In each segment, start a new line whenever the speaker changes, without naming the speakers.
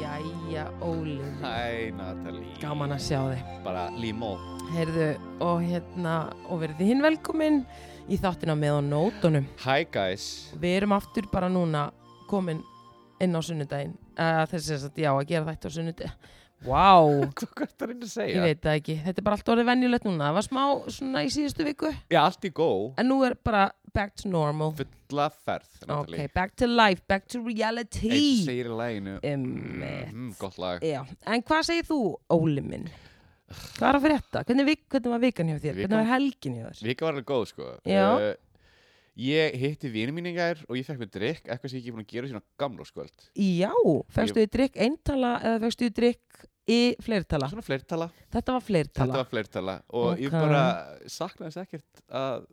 Jæja, Óli
Hæ, Natalie
Gaman að sjá þig
Bara limó
Heyrðu, og hérna, og verðið hinn velkomin í þáttina með á nótunum
Hi guys
Við erum aftur bara núna komin inn á sunnudaginn uh, Þessi að já, að gera þetta á sunnudaginn Vá,
Hvað hvað ertu að reyna að
ég
segja?
veit það ekki Þetta er bara allt orðið venjulegt núna Það var smá svona í síðustu viku
Já, allt í gó
En nú er bara back to normal
Fulla ferð,
Ok,
Natalie
back to life, back to
Eins
reality
segir í læginu
Einmitt.
mm, Gott lag
Já, en hvað segir þú, Óli minn? Hvað er að frétta? Hvernig, vik, hvernig var vikan hjá þér? Hvernig
Vikan?
var helgin hjá þér?
Vika var alveg góð, sko
Já.
Uh, Ég hitti vinið mín engar og ég fekk mér drikk eitthvað sem ég ekki búin að gera sína gamla sko. skvöld
Já, fegstu í drikk eintala eða fegstu í drikk í fleirtala?
Svona fleirtala
Þetta var fleirtala.
Þetta var fleirtala og ég
Ok.
bara saknaði þess ekkert að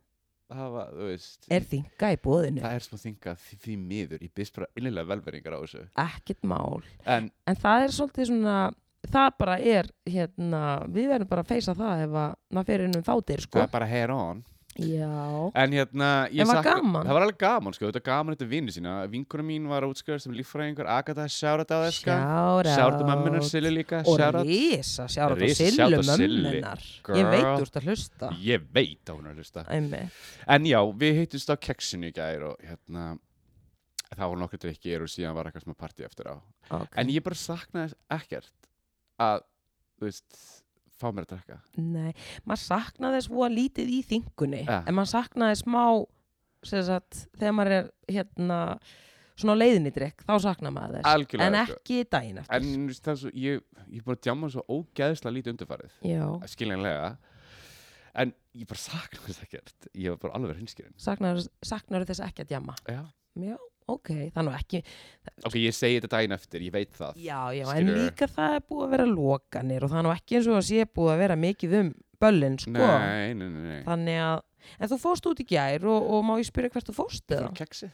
hafa, þú veist
Er þinga í bóðinu?
Það er smá þinga því, því miður, ég byrst bara innilega velveringar á þessu
Ekkert mál.
En
En það er svolítið svona, það bara er, hérna, við verðum bara að feysa það ef að maður fer inn um þáttir,
það
sko.
er bara hair on
Já.
En hérna, ég
En var
sakna-
gaman?
Það var alveg gaman, sko, þetta var gaman þetta vinnu sína Vinkuna mín var útskrifast sem líffræðingur Agatha, sjárat á þess, sko
Sjárat.
Sjárat á mömmunar, Silli líka
Og
Sjárat,
risa, sjárat og
Risa
sillu
shout out Sillu.
mömmunar. Ég veit
Girl.
úr þetta hlusta.
ég veit á hún er að hlusta
Æmi.
En já, við hittumst á keksinu í gær og hérna Það voru nokkur drikkir og síðan var eitthvað smá partí eftir á
Okay.
En ég bara saknaði þess ekkert að, þú veist, fá mér að drekka
Nei, maður saknaði þess voða lítið í þingunni
Ja.
en maður saknaði smá sem sagt, þegar maður er hérna svona á leiðinni drikk, þá saknaði maður þess
Algjörlega,
en
sko.
ekki daginn eftir
En þú veist, það er svo, ég, ég er búin að djáma svo ógeðslega lítið undarfarið
Já,
skiljanlega en ég bara sakna þess ekkert ég var bara alveg hinskirinn
saknaði, saknaði þess ekki að djama
já.
Já, ok, þannig ekki
ok, ég segi þetta daginn eftir, ég veit það
Já, já, en
Skilurðu?
líka það er búið að vera lokanir og það er nú ekki eins og að sé búið að vera mikið um böllin, sko
nei, nei, nei, nei.
Þannig að, en þú fórst út í gær og, og má ég spyrja hvert þú fórst
það
eða?
var keksi,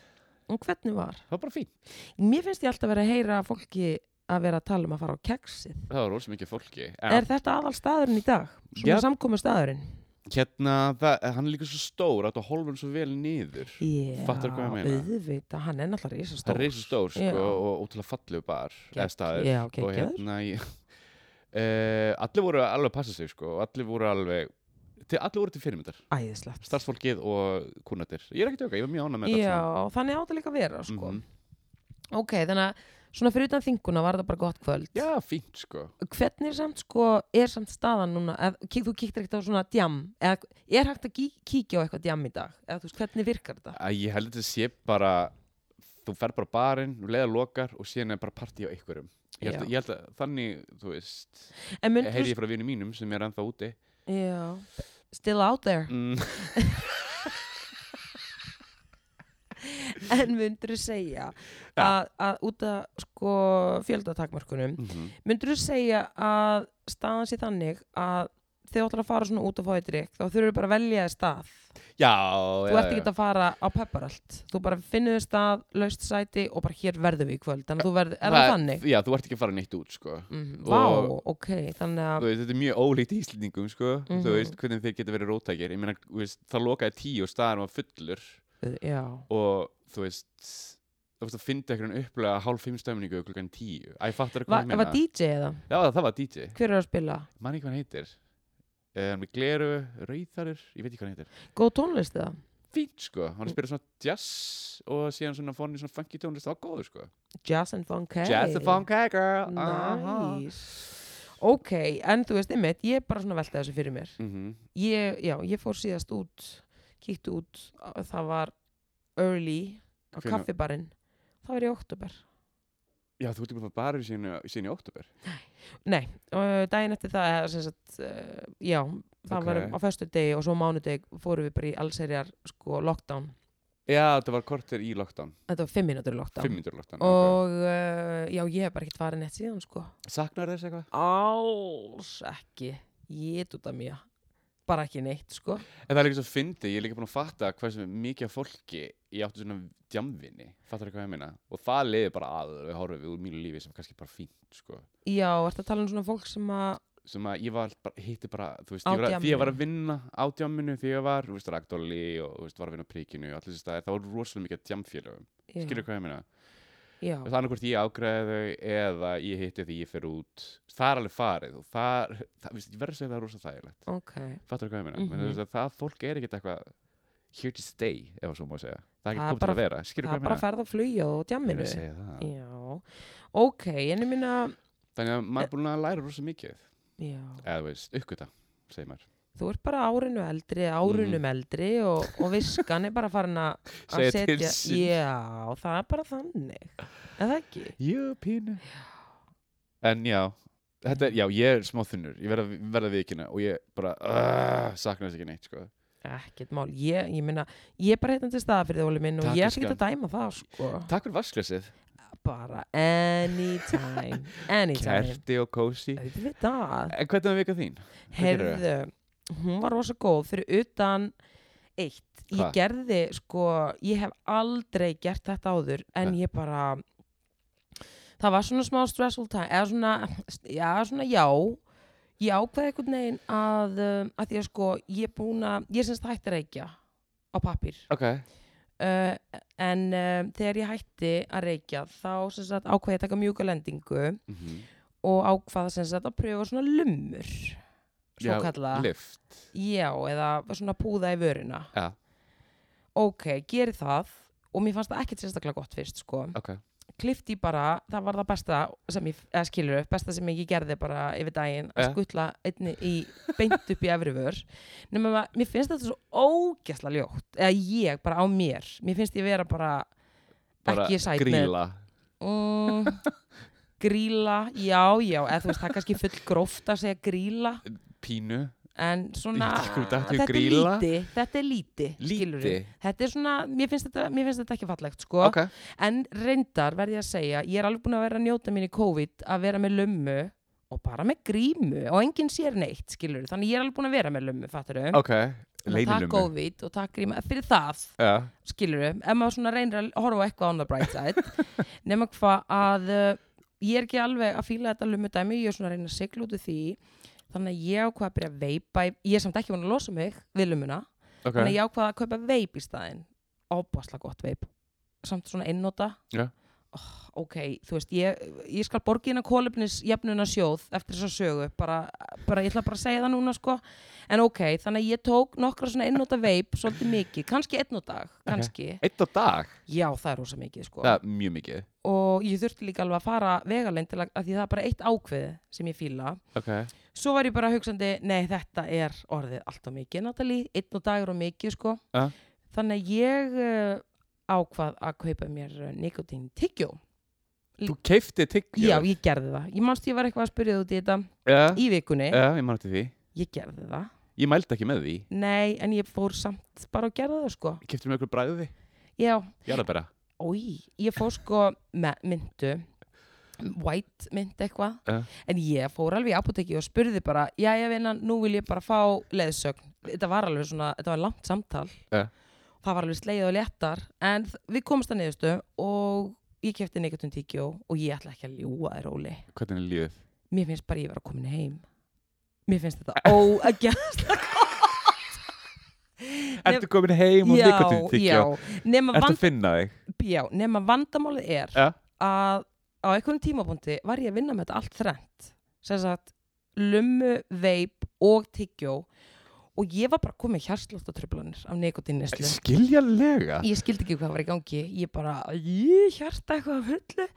Og hvernig var?
það var bara fín
Mér finnst ég alltaf vera að heyra fólki að vera að tala um að fara á keksið
það var rosa mikið fólki
Er þetta aðal staðurinn í dag? Svona
Já.
samkomi staðurinn?
hérna, það, hann er líka svo stór að það hólfum svo vel niður
Já,
Fattar hvað ég meina?
auðvitað, hann er náttúrulega
það
risastór.
er reysa stór
Já.
sko, og ótrúlega fallegu bar
Gegg-
eða staður
já,
og
geggjaður.
hérna ég, uh, allir voru alveg að passa sig sko, og allir voru alveg til, allir voru til fyrirmyndar,
Æðislegt.
starfsfólkið og kunnatir ég er ekki tjóka, ég var mjög ánað með
Já,
þetta allt
þannig átt að líka að vera, sko.
Mhm.
Ok, þannig að svona fyrir utan þinguna var þetta bara gott kvöld.
saman. já, fínt sko
Hvernig er samt, sko, er samt staðan núna? Ef, kík, þú kíktir ekkert á svona djam, eða er hægt að kí, kíkja á eitthvað djam í dag? Eða þú veist, hvernig virkar þetta?
að ég held að þetta sé bara þú fer bara á barinn, leiða lokar og síðan er bara partí á einhverjum ég held,
Já.
ég held að þannig, þú veist
En myndir
heyri ég frá vinum mínum sem er ennþá úti
Já, still out there.
mm,
En myndur þú segja að, að út af, sko, fjöldatakmarkunum,
mhm.
Myndur þú segja að staðan sé þannig að þið ætlar að fara svona út og fá eitthvað drikk þá þurfur bara að velja þér stað
já,
þú ert ekki að fara á pepparallt þú bara finnur þér stað, laust sæti og bara hér verðum við í kvöld þannig að þú verður, er það þannig?
já, þú ert ekki að fara neitt út sko
Mm, vá,
Og-
ok, þannig
Þú
að
Veist, þetta er mjög ólíkt íslendingum sko.
Mhm.
þú veist hvernig þeir geta verið róttækir Ég meina, þú veist, það lokaði tíu og staðan var fullur
já,
og þú veist þú veist að finna einhvern upplega hálf fimm stömningu klukkan tíu Æ, fattar
Va,
hvað ég
var
meina
DJ eða?
Já, það var DJ
Hver er að spila?
mann ekki hvað hann heitir um, með gleru, rauðarur, ég veit ekki hvað hann heitir
Góð tónlist eða?
fínt sko, hann er að spila svona jazz og síðan svona fór hann í svona funky tónlist það var góður sko
Jazz and Funk hey.
jazz the funk hey girl aha.
Nice Ok, en þú veist, einmitt, ég bara svona velta þessu fyrir mér
Mhm.
ég, já, ég fór síðast út kíkti út, á- það var early á
Hvenær?
kaffibarinn það var í oktober
já, þú ert ekki búin að fara barið síðan, síðan í óttúber
nei, uh, daginn eftir það eða sem sagt, uh, já, það
Ok.
var á föstudegi og svo á mánudegi fórum við bara í allserjar sko lockdown,
já, það var kortir í lockdown,
þetta var fimm mínútur í
fimm
lockdown
myndur lockdown og...
og uh, já, ég hef bara ekkert farin eitt síðan sko
saknar þess eitthvað?
alls ekki, ég dúta mjög bara ekki neitt sko
En það er líka svo fyndið, ég er líka búin að fatta hversu mikið af fólki ég átti svona djamvinni, fattar hvað ég meina? Og það leiði bara alveg horfið úr mínu lífi sem kannski bara fínt, sko.
já, ertu að tala um svona fólk sem að
Sem að ég var, bara, hitti bara, þú veist,
Á
ég var, að- því ég var að
djamminu.
vinna á djamminu, því ég var, þú veist, ragdóli og, þú veist, var að vinna á príkinu og allir þessi staðir, það voru rosalega mikið af djamfélögum,
já,
skilur hvað ég meina?
já,
Það er annarkvort ég ágræði þau eða ég hitti því ég fer út, það er alveg farið og það, það veist, ég verður að segja það er rosalega þægilegt.
ok
fattur hvað ég meina, mm
Mhm.
-hmm. það fólk er ekkert eitthvað here to stay, ef svo má segja það er
Það
ekki
er
komið til að
bara-
vera, skilur
það er
hvað ég
bara
meina
að ferða að flugja og
Ég er
djamminu
að segja það.
já, ok, en ég minna
þannig að
Eh.
maður er búin að læra rosa mikið
já,
eða þú veist, uppgöta, segir maður
þú ert bara árinu eldri árunum eldri og, og viskan er bara farin að að
Mm. Segja til sín.
já, það er bara þannig er það ekki?
jú, pínu en já, þetta er, já, ég er smá þunnur ég verða, verða vikina og ég bara uh, sakna þess ekki neitt, sko
ekkert mál, ég, ég minna ég er bara heitan til staða fyrir þóli minn og
Takk,
ég ætla ekki að
elskan.
dæma það sko
takk fyrir vasklesið,
bara anytime anytime
kerti og kósi
auðvitað
en hvernig var vika þín? gerðirðu?
herðu, hún var rosa góð fyrir utan eitt ég
Hvað?
gerði sko ég hef aldrei gert þetta áður en
Nei.
ég bara það var svona smá stressful time eða svona, já, svona já ég ákveði einhvern veginn að, um, að því að sko ég er búin að ég er semst hætti reykja á pappir
ok,
uh, en um, þegar ég hætti að reykja þá sem sagt ákveði ég að taka mjúka lendingu
mm -hmm.
og ákvaða sem sagt að pröfa svona lumur svo kallaða
lift,
já, eða svona púða í vörina
ja,
ok, geri það og mér fannst það ekkert sérstaklega gott fyrst sko.
ok
klifti bara, það var það besta sem ég, eða skilur upp, besta sem ég gerði bara yfir daginn, að
Ja.
skutla einni í, beint upp í efri vör nema að mér finnst þetta svo ógæsla ljótt eða ég, bara á mér mér finnst ég vera bara,
bara
ekki sæt með
gríla,
mm, gríla, já, já eða þú veist, það er kannski full gróft að segja gríla
pínu
en svona
Ég- þú datt í
þetta er
gríla?
líti þetta er líti, skilurðu.
líti,
þetta er svona, mér finnst þetta, mér finnst þetta ekki fallegt sko.
ok
en reyndar verð ég að segja ég er alveg búin að vera að njóta mín í COVID að vera með lömmu og bara með grímu og enginn sér neitt, skilur þannig ég er alveg búin að vera með lömmu, fattar þau
Ok,
takk
leinilummi
COVID og takk gríma, fyrir það
Já,
skilur þau, ef maður svona reynir að horfa á eitthvað on the bright side nema hvað að uh, ég er ekki alveg að fíla þetta lömmu dæmi, ég er svona að reyna að sigla út úr því þannig að ég ákvað að byrja að veipa í- ég er samt ekki búin að losa mig við lömmuna
ok
þannig að ég ákvaða að kaupa veip í staðinn óbáslega gott veip samt svona einnota
Já.
oh, ok, þú veist, ég, ég skal borgina kólefnis jafnuna sjóð eftir þess að sögu bara, bara, ég ætla bara að segja það núna sko. en ok, þannig að ég tók nokkra svona einnota veip, svolítið mikið kannski einn og dag, kannski
Eitt á dag,
já, það er rosa mikið sko.
það er mjög mikið
og ég þurfti líka alveg að fara vegalein til að, að því það er bara eitt ákveð sem ég fíla
Ok,
svo var ég bara hugsandi, nei þetta er orðið alltaf mikið Natalie, einn og dagur og mikið sko
Ja.
þannig að ég uh, ákvað að kaupa mér uh, nikotín tyggjó
þú keifti tyggjó
já, ég gerði það, ég manst ég var eitthvað að spyrja þig út í þetta
já,
í vikunni,
já, ég mætti því
ég gerði það
Ég mældi ekki með því
nei, en ég fór samt bara og gerði það sko
Ég keifti með ykkur bræði
já,
Jarðabæra
ói, ég fór sko með myndu white mynd eitthvað
Ja.
en ég fór alveg í apoteki og spurði bara já ég vinna, nú vil ég bara fá leðsögn þetta var alveg svona, þetta var langt samtal
Ja.
það var alveg sleið og léttar en þ- við komumst að niðurstu og ég kefti neikatun tíkjó og ég ætla ekki að ljúa þér óli
Hvernig er lífið?
mér finnst bara ég vera komin heim mér finnst þetta óagjast
Ertu komin heim og nikotin
já,
tyggjó?
nema,
Ertu
vand,
að finna þig?
já, nema vandamálið er
Já,
að á einhvern tímapunkti var ég að vinna með þetta allt þrennt sem sagt lummu, veip og tyggjó og ég var bara komið hjarslóttatröflanir af neikotinneslu
skiljanlega
ég skildi ekki hvað var í gangi ég bara, ég hjarta eitthvað af hullu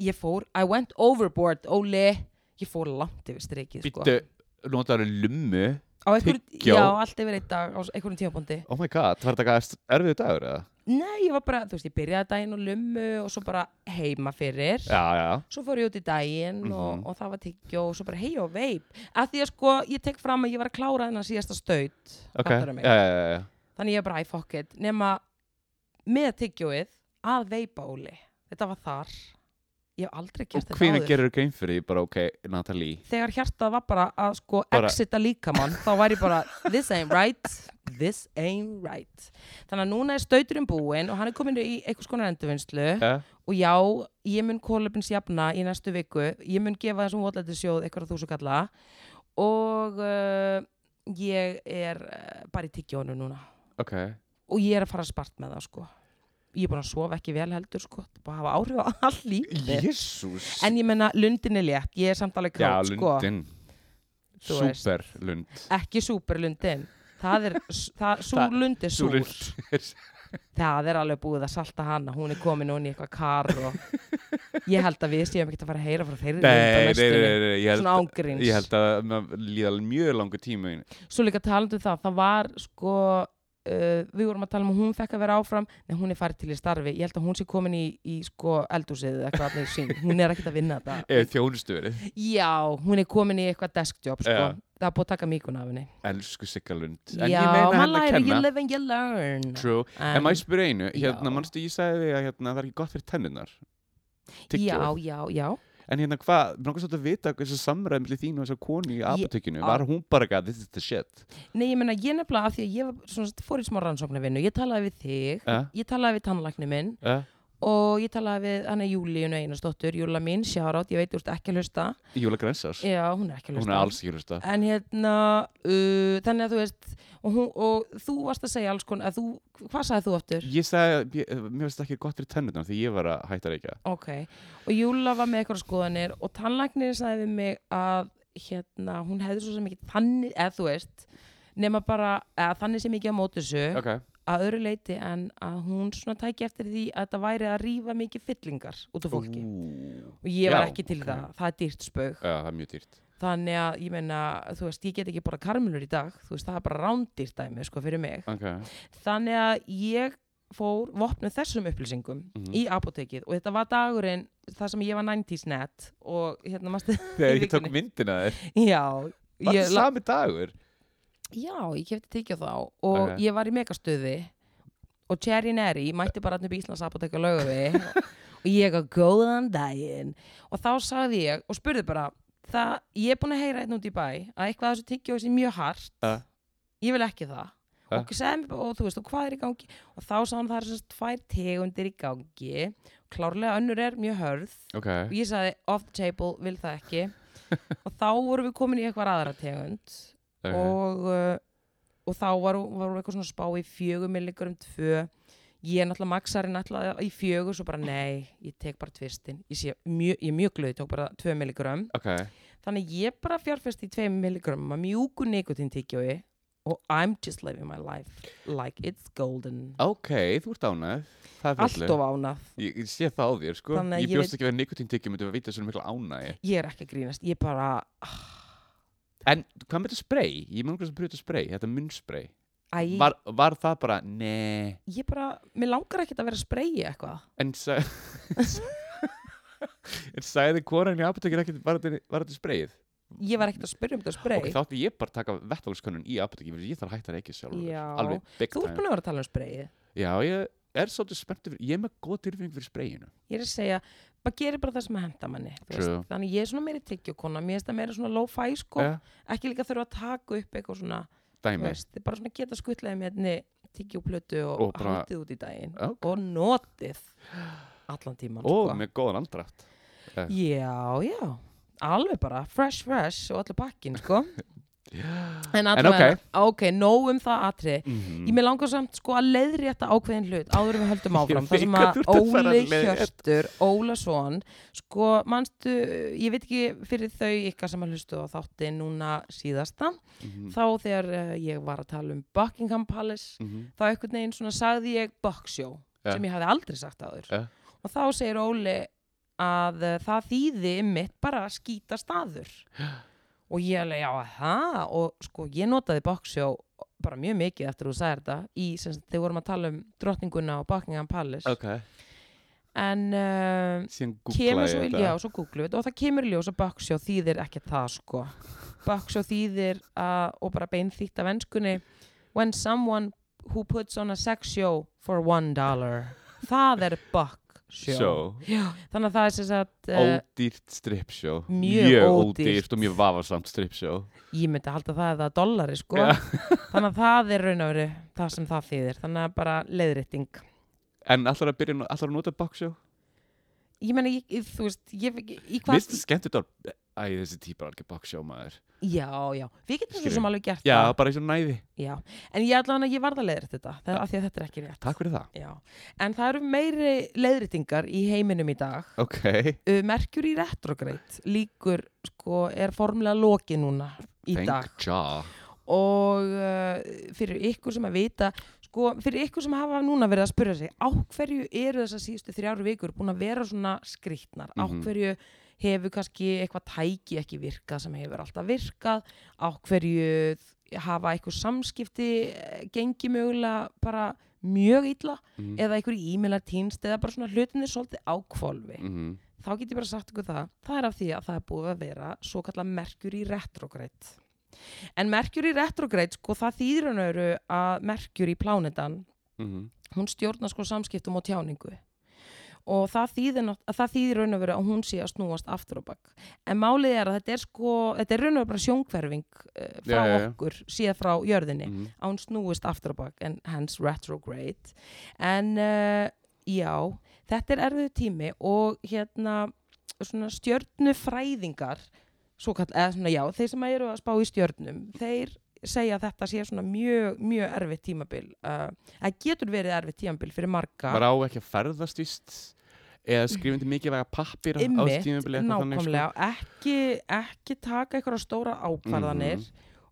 ég fór, I went overboard Óli, ég fór langt yfir strikið sko.
Býttu, notaðu lummu
á einhvern,
tyggjó.
já, allt yfir einn dag á einhverjum tímapunkti
Oh my god, var þetta erst- erfiður dagur eða?
nei, ég var bara, þú veist, ég byrjaði daginn og lummu og svo bara heima fyrir
Já, já,
svo fór ég út í daginn
Mhm.
og, og það var tyggjó og svo bara hei og veip að því að sko ég tek fram að ég var að klára þennan síðasta staut
ok
Fattarðu mig?
Já, já, já, já.
þannig ég bara æ fuck it nema með tyggjóið að veipa óli þetta var þar ég hef aldrei gert
og
þetta
hvenær
áður.
gerir grein fyrir því bara ok, Natalie
þegar hjartað var bara að sko
Bara-
exita líkamann, þá væri ég bara this ain't right, this ain't right þannig að núna er stauturinn búinn og hann er komin í einhvers konar endurvinnslu
eh?
og já, ég mun kólöfnins jafna í næstu viku, ég mun gefa þessum votlæti sjóð eitthvað þú svo kalla og uh, ég er uh, bara í tyggjónu núna
ok,
og ég er að fara spart með það sko ég er búin að sofa ekki vel heldur sko bara hafa áhrif á all lífið
jésús
en ég menna lundin er létt, ég er samt alveg
já,
krátt sko
lundin
Þú veist.
super lund
ekki súperlundin það er, það, sú
Það-
lund er
Sú
súr
lund er-
það er alveg búið að salta hana hún er komin hún í eitthvað kar og ég held að við séum ekkert að fara að heyra frá þeirri lund á
nei, nei, nei,
næstunni.
nei, nei, ég
svona
held
ángríns
ég held að maður líða alveg mjög langu tíma í-
svo líka talandi um það, það var sko uh, við vorum að tala um að hún fekk að vera áfram nei, hún er farið til í starfi, ég held að hún sé komin í, í sko eldhúsið eða eitthvað þarna í sín. hún er ekkert að vinna þetta
eða þjónustu verið
já, hún er komin í eitthvað deskjob sko.
Já.
það er búið að taka mikun af henni
elsku Sigga Lund en
já,
ég meina
maður
henni að
læri, you
kenna
live and you learn
true En maður spyr einu, hérna,
já.
mannstu ég sagði því að hérna, það er ekki gott fyrir tennunar Tyggjó.
Já, já, já.
En hérna hvað, mér langar svolítið að vita þessu samræðum til þín og þessu konu í apotekinu Var hún bara ekki að this is the shit
Nei, ég meina, ég nefnilega, af því að ég var svona, sagt, fór í smá rannsóknarvinnu, ég talaði við þig,
Eh?
ég talaði við tannlækni minn
Eh?
og ég talaði við hann er Júlíun Einarsdóttur, Júla mín, sjárátt, ég veit, þú ert ekki að hlusta.
Júla Grensars
Já, hún er ekki að
Hún
hlusta.
er alls ekki hlusta
En hérna, uh, þannig að þú veist, og, hún, og þú varst að segja alls konar, að þú, hvað sagði þú aftur?
Ég sagði, að ég- mér finnst það ekki gott fyrir tennunar því ég var að hætta að reykja
Ok, og Júla var með eitthvað skoðanir og tannlæknir sagði við mig að hérna, hún hefði svo sem ekki þannig, eða þú veist, nema bara, eða þannig sem ekki á móti þessu.
Ok,
að öðru leiti en að hún svona tæki eftir því að þetta væri að rífa mikið fyllingar út af fólki
Ú,
og ég var
já,
ekki til
ok.
það, það er dýrt spög
Já, það er mjög dýrt
þannig að ég meina, þú veist, ég get ekki bara karmelur í dag, þú veist, það er bara rándýrt dæmi sko fyrir mig,
Ok,
þannig að ég fór vopnuð þessum upplýsingum
Mhm.
í apotekið og þetta var dagurinn það sem ég var 90s net og hérna mástu,
þegar ég
vikunni.
tók myndina þér
já
Var
ég
það
la-
sami dagur?
Já, ég kefti tyggja þá og
Ok.
ég var í megastöði og Cherry Neri mætti bara hann upp í Íslands apoteka laugavi og ég á góðan daginn og þá sagði ég og spurði bara það, ég er búin að heyra einn út í bæ að eitthvað af þessu tyggjói sé mjög hart
Eh.
ég vil ekki það
Eh.
og, sem, og þú veist, og hvað er í gangi og þá sá hann það er svona tvær tegundir í gangi klárlega önnur er mjög hörð
Ok,
og ég sagði off the table, vil það ekki og þá vorum við komin í eitthvað aðra tegund
ok
og, uh, og þá var, var hún eitthvað svona að spá í fjögur milligur um tvö ég er náttúrulega maksarinn alltaf í fjögur svo bara nei, ég tek bara tvistin ég, sé, mjö, ég er mjög glöð, ég tók bara tvö milligur
Ok,
þannig að ég bara fjárfest í tvei milligur um að mjúku nikotinn tyggjói og I'm just living my life like it's golden
ok, þú ert ánægð Það er
allt
fullu
of ánað
Ég, ég sé það á þér sko
Þannig að
Ég
ég
bjóst
veit-
ekki við að nikotíntekjum myndi að vita svona mikla ánægi
ég er ekki að grínast, ég bara
En hvað með þetta spray? Ég mann hvernig sem pröfðu spray, þetta munnspray
æ,
var, var það bara, ne
ég bara, mér langar ekkert að vera að spreyja eitthvað
En, sa... en sagði konan í apotekir ekkert Var þetta, var þetta sprayið?
ég var ekkert að spyrja um þetta að sprey
Ok, þá ætti ég bara að taka vettvangskönnun í apotekir Fyrir ég þarf að hætta það ekki sjálfur
Já.
Alveg big
þú
time
ert búin að vera að tala um spreyið
Já, ég er svolítið spenntið fyrir Ég er með góð tilfinning fyrir sprayinu
ég er að segja, bara gerir bara það sem að henda manni þú veist.
True.
þannig ég er svona meiri tyggjókona mér finnst það meira svona low-fi sko
Eh,
ekki líka þurfa að taka upp eitthvað svona þú
Dæmi
veist, bara svona geta skuttlaði með tyggjóplötu og,
Og
og
bara-
haldið út í daginn
Ok.
og notið allan tíman
Og
sko.
með góðan Eh, andrætt
já, já, alveg bara fresh, fresh og allir pakkin sko en,
En
allavega- ok, nóg um það atrið Ég
Mhm.
með langar samt sko að leiðrétta ákveðin hlut áður en við höldum áfram
Ég
þar sem
veit að
að
þú ert að fara að
Óli
leiðrétta.
Hjörtur, Ólason sko manstu, ég veit ekki fyrir þau ykkar sem að hlustu á þátti núna síðasta
Mhm.
þá þegar uh, ég var að tala um Buckingham Palace
Mhm.
þá einhvern veginn svona sagði ég Buckshow
Ja.
sem ég hafði aldrei sagt áður
Ja.
og þá segir Óli að uh, það þýði mitt bara að skýta staður og ég alveg já það og sko ég notaði Buckshow bara mjög mikið eftir þú sagði þetta í, sem sagt, þegar við vorum að tala um drottninguna og Buckingham Palace
Ok,
en uh,
síðan
kemur
googlaði
svo,
ég
í- já, svo googlum við þetta og það kemur í ljós að baksjó þýðir ekkert það sko baksjó þýðir að, og bara beinþýtt af ennskunni when someone who puts on a sex show for one dollar það er bakk sjó. Já, þannig að það er sem sagt uh,
ódýrt stripsjó
mjög ódýrt.
og mjög vafarsamt stripsjó
ég myndi halda það að það er dollari sko.
Já.
þannig að það er raun og veru það sem það þýðir, þannig að bara leiðrétting
en allar að byrja, allar að nota báksjó
ég meina, ég- ég- þú veist ég, í hvað,
minnst það skemmt þetta æ, þessi típa er alveg báksjó maður
já, já við getum
Skilur.
svo sem alveg gert
já,
það
bara eins og næði,
já. en ég allan að ég varð að leiðrétt þetta það, af því að þetta er ekki rétt
takk fyrir það
já. en það eru meiri leiðréttingar í heiminum í dag
ok,
Uh, Mercury retrograde líkur sko, er formlega lokið núna í dag
thank ja
og uh, fyrir ykkur sem að vita sko, fyrir ykkur sem hafa núna verið að spyrja sig á hverju eru þessar síðustu þrjáru vikur búin að vera svona skrýtnar
Mhm.
á hverju hefur kannski eitthvað tæki ekki virkað sem hefur alltaf virkað á hverju hafa eitthvað samskipti eh, gengi mögulega bara mjög illa
Mhm.
eða einhverju e-mailar týnst eða bara svona hlutinni svolítið ákvolfi
mhm,
þá get ég bara sagt ykkur það það er af því að það er búið að vera svo kallað Mercury retrograde en Mercury retrograde sko það þýðir hann öru að Mercury plánetan
mhm,
hún stjórnar sko samskiptum og tjáningu og það þýðir, nátt- að það þýðir raun og veru að hún sé að snúast aftur á bak en málið er að þetta er sko þetta er raun og veru bara sjónkverfing uh, frá
Já, já, já.
okkur, síða frá jörðinni
mhm.
að hún snúist aftur á bak en hence retrograde en uh, já þetta er erfiðu tími og hérna svona stjörnufræðingar svo kall, eða svona já, þeir sem eru að spá í stjörnum þeir segja að þetta sé svona mjög, mjög erfitt tímabil uh, að getur verið erfitt tímabil fyrir marga
bara á ekki að ferðast víst eða skrifindi mikið vega pappir
Einmitt,
sko.
nákvæmlega ekki, ekki taka einhverja stóra ákvarðanir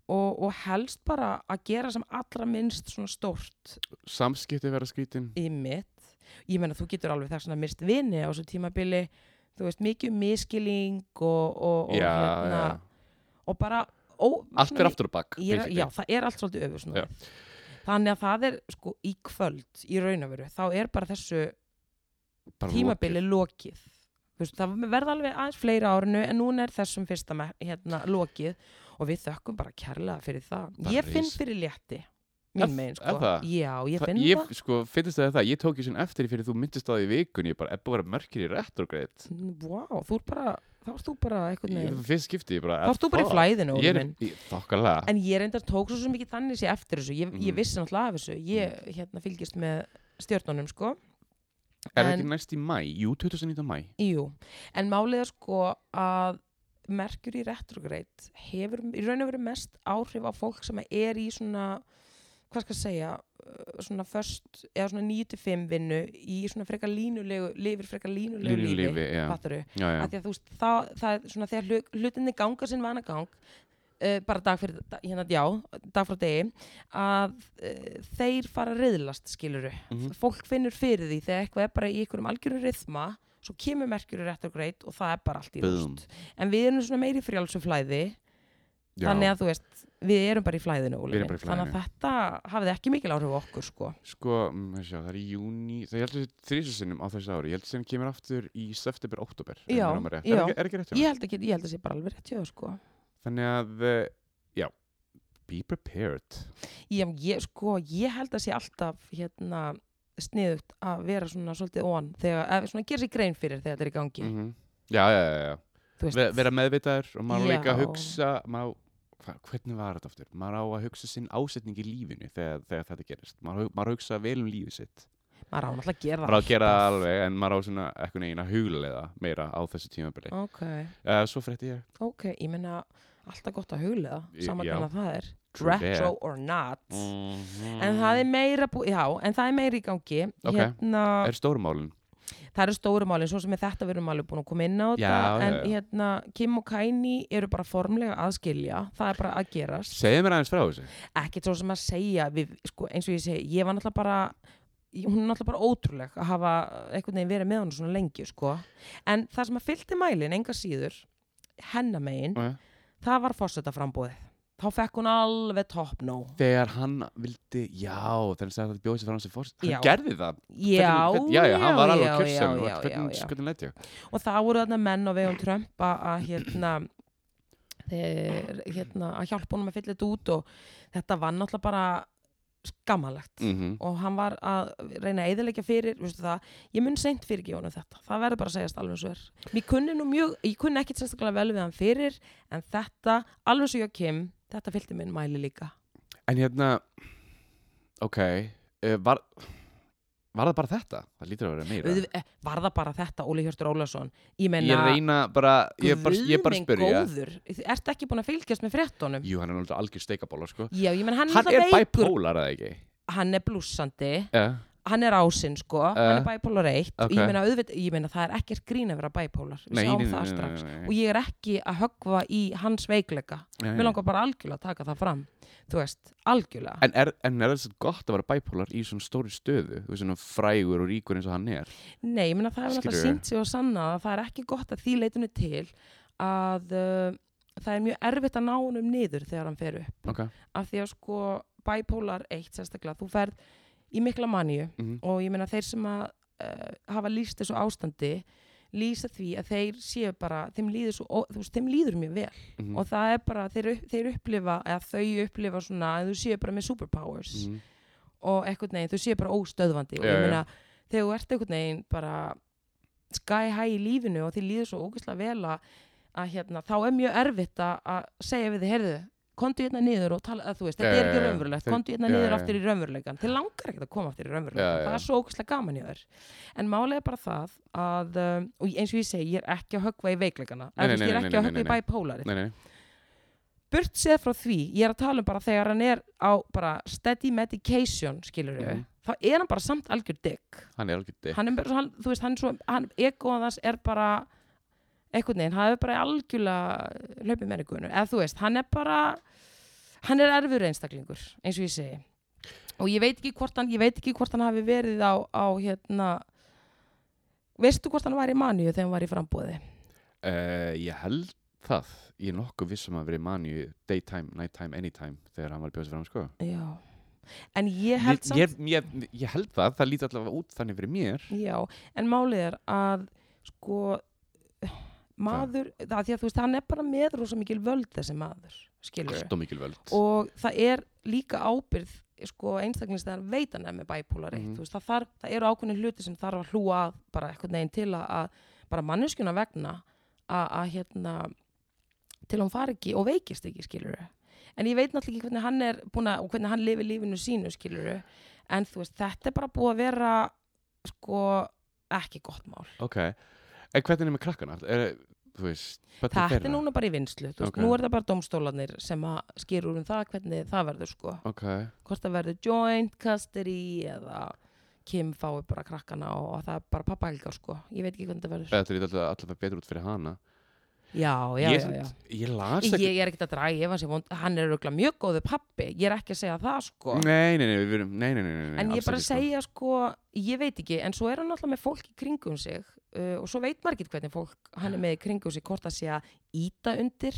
og, og helst bara að gera sem allra minnst svona stórt
samskipti vera skrítin
í mitt ég meina þú getur alveg þess að mist vini á þessu tímabili þú veist mikið um miskiling og, og, og,
já,
hérna,
já.
og bara ó,
allt
svona-
er aftur á bak
ég, er-
basically.
já það er allt svolítið öfu þannig að það er sko í kvöld í raunaföru þá er bara þessu
Bara
tímabili lokið, Þú Veist, það verða alveg aðeins fleira á árinu en núna er þessum fyrsta me- hérna, lokið og við þökkum bara kærlega fyrir það
Bara
ég finn
ris-
fyrir létti
Er-
mín megin
er
sko
það?
já ég
Þa-
finn
ég,
það
sko, finnst það það, ég tók ég sem eftir því fyrir þú myndist á það í vikun, ég bara, ef bara mörkir í retrograde
Vá, þú er bara, þá erst þú bara eitthvað
ég,
neginn.
fyrst skipti ég bara
Þá erst þú bara í
fuck.
flæðinu,
ég
Óli
er,
minn.
ég- þokkalega
En ég reyndar tók svo sem ekki þannig sé eftir þessu. Ég,
Mhm.
ég vissi náttúrulega af þessu. Ég hérna fylgist með stjórnunum, sko.
er það
en-
ekki næst í mæ, jú, 2019 mæ
Jú, en málið er sko að Mercury retrograde hefur í raun og veru mest áhrif á fólk sem er í svona hvað skal ég segja, uh, svona först eða svona 9-5 vinnu í svona frekar línulegu, lifir frekar línulegu
línu
lífi,
lífi, já,
fattaru
já, já.
að því að þú veist, það, það er svona þegar hlu- hlutinni ganga sinn vanagang uh, bara dag fyrir, dag- hérna, já, dag frá degi að uh, þeir fara að riðlast, skiluru
Mhm.
fólk finnur fyrir því þegar eitthvað er bara í einhverjum algjöru rithma, svo kemur merkjuru rétt og greit og það er bara allt í
Boom.
rúst en við erum svona meiri frjálsum flæði
já.
þannig að þú veist, við erum bara í flæðinu, Óli
Við erum
minn.
bara í
þannig að þetta hafði ekki mikil áhrif á okkur, sko
sko, mm, sjá, það er í júni það er heldur þrísusinnum á þessu ári ég heldur sem kemur aftur í september, oktober ef
Já,
mig rámar rétt.
já.
er, ekki- er ekki rétt hjá mér?
ég held, ekki, ég held að sé bara alveg rétt hjá, þér, sko
þannig að, eh, já be prepared
ég, ég, sko, ég held að sé alltaf hérna, sniðugt að vera svona svolítið on þegar, eða svona gera sér grein fyrir þegar þetta er í gangi
mm já, já, já, já
þú veist,
Ve- vera meðvitaður og maður á líka að
Já.
hugsa maður, á- hva, hvernig var þetta aftur maður á að hugsa sinn ásetning í lífinu þegar, þegar þetta gerist, maður, á að hug- maður á að hugsa vel um lífið sitt,
maður á náttúrulega að gera
maður á að gera það
alltaf.
alveg en maður á svona eitthvað negin að huglega meira á þessu tímabili uh.
ok,
svo frétti ég
ok, ég meina alltaf gott að huglega,
Í-
saman
já.
hvernig að það er
True
retro
that.
or not
Mhm.
en það er meira bú, já, en það er meira í gangi
Ok.
hérna,
er stórmálin
það eru stóru málin svo sem er þetta við erum alveg búin að koma inn á þetta
Já,
en
já, já.
hérna, Kim og Kaini eru bara formlega að skilja, það er bara að gerast
segðu mér aðeins frá þessu
ekkert svo sem að segja við, sko, eins og ég segi, ég var náttúrulega bara ég- hún er náttúrulega bara ótrúleg að hafa einhvern veginn verið með hann svona lengi sko. en það sem að fylgdi mælin enga síður, hennamegin
Ok.
það var fórsetaframbóðið þá fekk hún alveg top no
þegar hann vildi, já þegar hann sagði að það bjóði sér frá hann sem fórst hann
Já.
gerði það,
já,
hvernig, já, já, hann var alveg
já,
á kjörsum
já, já,
hvernig,
já, já.
hvernig leit ég
og þá voru þarna menn á vegum Trump að- að hérna þeir, hérna, að hjálpa honum að fylla þetta út og þetta var náttúrulega bara skammalegt
Mhm.
og hann var að reyna að eðilegja fyrir veistu það, ég mun seint fyrir ekki honum þetta það verður bara að segjast alveg svo er Mér kunni nú mjög, ég kunni ekkit sérstaklega vel við hann fyrir en þetta, alveg svo ég kem þetta fylgdi minn mæli líka
En hérna Ok uh, var, var það bara þetta? Það lítur að vera meira
Auðv- eh, var það bara þetta Óli Hjörtur Ólason ég
Ég
meina,
reyna bara Ég er bara, ég er bara
guð
að
minn
spyrja
góður ertu ekki búin að fylgjast með fréttonum
Jú, hann er náttúrulega algjör steikabóla sko
já, ég meina hann,
Hann er
náttúrulega veikur
bæpólar eða ekki
hann er blúsandi,
yeah.
hann er ásinn sko hann er bæpólar eitt og
Eh, ok.
ég meina, auðvitað, ég meina það er ekkert grín að vera bæpólar við sjáum það strax og ég er ekki að höggva í hans veikleika
nei,
mér langar bara algjörlega að taka það fram þú veist, algjörlega
En er, en er þess að gott að vera bæpólar í svona stóri stöðu, þú veist svona frægur og ríkur eins og hann er?
nei, ég meina það er alltaf
Skilurðu?
sínt sig og sannað að það er ekki gott að því leitinu til að uh, það er mjög erfitt að ná honum niður þegar hann fer upp
Ok.
af því að sko bipolar 1 sérstaklega, þú ferð í mikla maníu
Mm
og ég meina þeir sem að uh, hafa lýst þessu ástandi lýsa því að þeir séu bara þeim líður, svo, ó, þú veist, þeim líður mjög vel
-hmm.
og það er bara, þeir, upp- þeir upplifa eða þau upplifa svona, að þú séu bara með superpowers
-hmm.
og eitthvað neginn, þú séu bara óstöðvandi og
Já,
ég
já.
meina, þegar þú ert eitthvað neginn bara sky high í lífinu og þið líður svo ógeðslega vel að, að hérna, þá er mjög erfitt að, að segja við þið, heyrðu komdu hérna niður og tala, að þú veist, þetta
Já,
er ekki
já, já.
raunverulegt,
Þeir-
komdu hérna
já,
niður
já, já.
aftur í raunveruleikan, þið langar ekki að koma aftur í
Já,
raunveruleikan,
já.
það er svo ógeðslega gaman hjá þér en málega bara það að um, og eins og ég segi, ég er ekki að höggva í veikleikana
Nei,
eða þú
nei,
veist, ég
nei,
er
nei,
ekki að
nei,
höggva í
nei, nei.
bæpólari
Nei, nei.
burt séð frá því, ég er að tala um bara þegar hann er á bara steady medication skilur við,
Mhm.
þá er hann bara samt algjör dick,
Hann er algjör dick.
hann er bara, svo- hann, þú veist, hann er svo, hann, egoðan þess er bara einhvern veginn, hann er bara algjörlega hlaupið með einhvern eða þú veist, hann er bara hann er erfur einstaklingur, eins og ég segi og ég veit ekki hvort hann ég veit ekki hvort hann hafi verið á, á hérna veistu hvort hann var í maníu þegar hann var í frambúði
Uh, ég held það. Ég er nokkuð vissum að vera í manju daytime, nighttime, anytime þegar hann var bjóðs fram sko.
já, en ég held samt
ég, ég, ég held það, það lítur allavega út þannig fyrir mér.
Já, en málið er að sko maður, það því að þú veist, hann er bara með rosa mikil völd þessi maður, skilur
Allt og mikil völd.
og það er líka ábyrð sko einstaklings þegar hann veit hann er með bæpólari,
Mhm.
þú veist, það, þarf, það eru ákveðni hluti sem þarf að hlúa að bara eitthvað neginn til að, að bara manneskjuna vegna að, að hérna til hún fari ekki og veikist ekki, skilur en ég veit náttúrulega ekki hvernig hann er búin að, og hvernig hann lifi lífinu sínu, skilur en þú veist, þetta er bara búið að vera sko ekki gott mál
Ok. En hvernig er með krakkana? Er, þú veist, hvernig
þetta er
þeirra?
núna bara í vinslu, þú veist,
Ok.
nú er það bara domstólanir sem að skýrur um það hvernig það verður sko
Ok.
hvort það verður joint custody eða Kim fái bara krakkana og, og það er bara pappa helga sko ég veit ekki hvernig það verður
Þetta lítur allavega, allavega betur út fyrir hana.
já, já,
ég,
já, já.
Ég las ekki.
Ég er ekkert að draga, ég var sér vond hann er auðvitað mjög góðu pappi, ég er ekki að segja það sko
Nei, nei, nei, við verum, nei, nei, nei, nei, nei
en ég
alls
bara
ekki, sko.
segja sko, ég veit ekki en svo er hann alltaf með fólk í kringum sig uh, og svo veit maður ekki hvernig fólk hann er með í kringum sig, hvort að sé að íta undir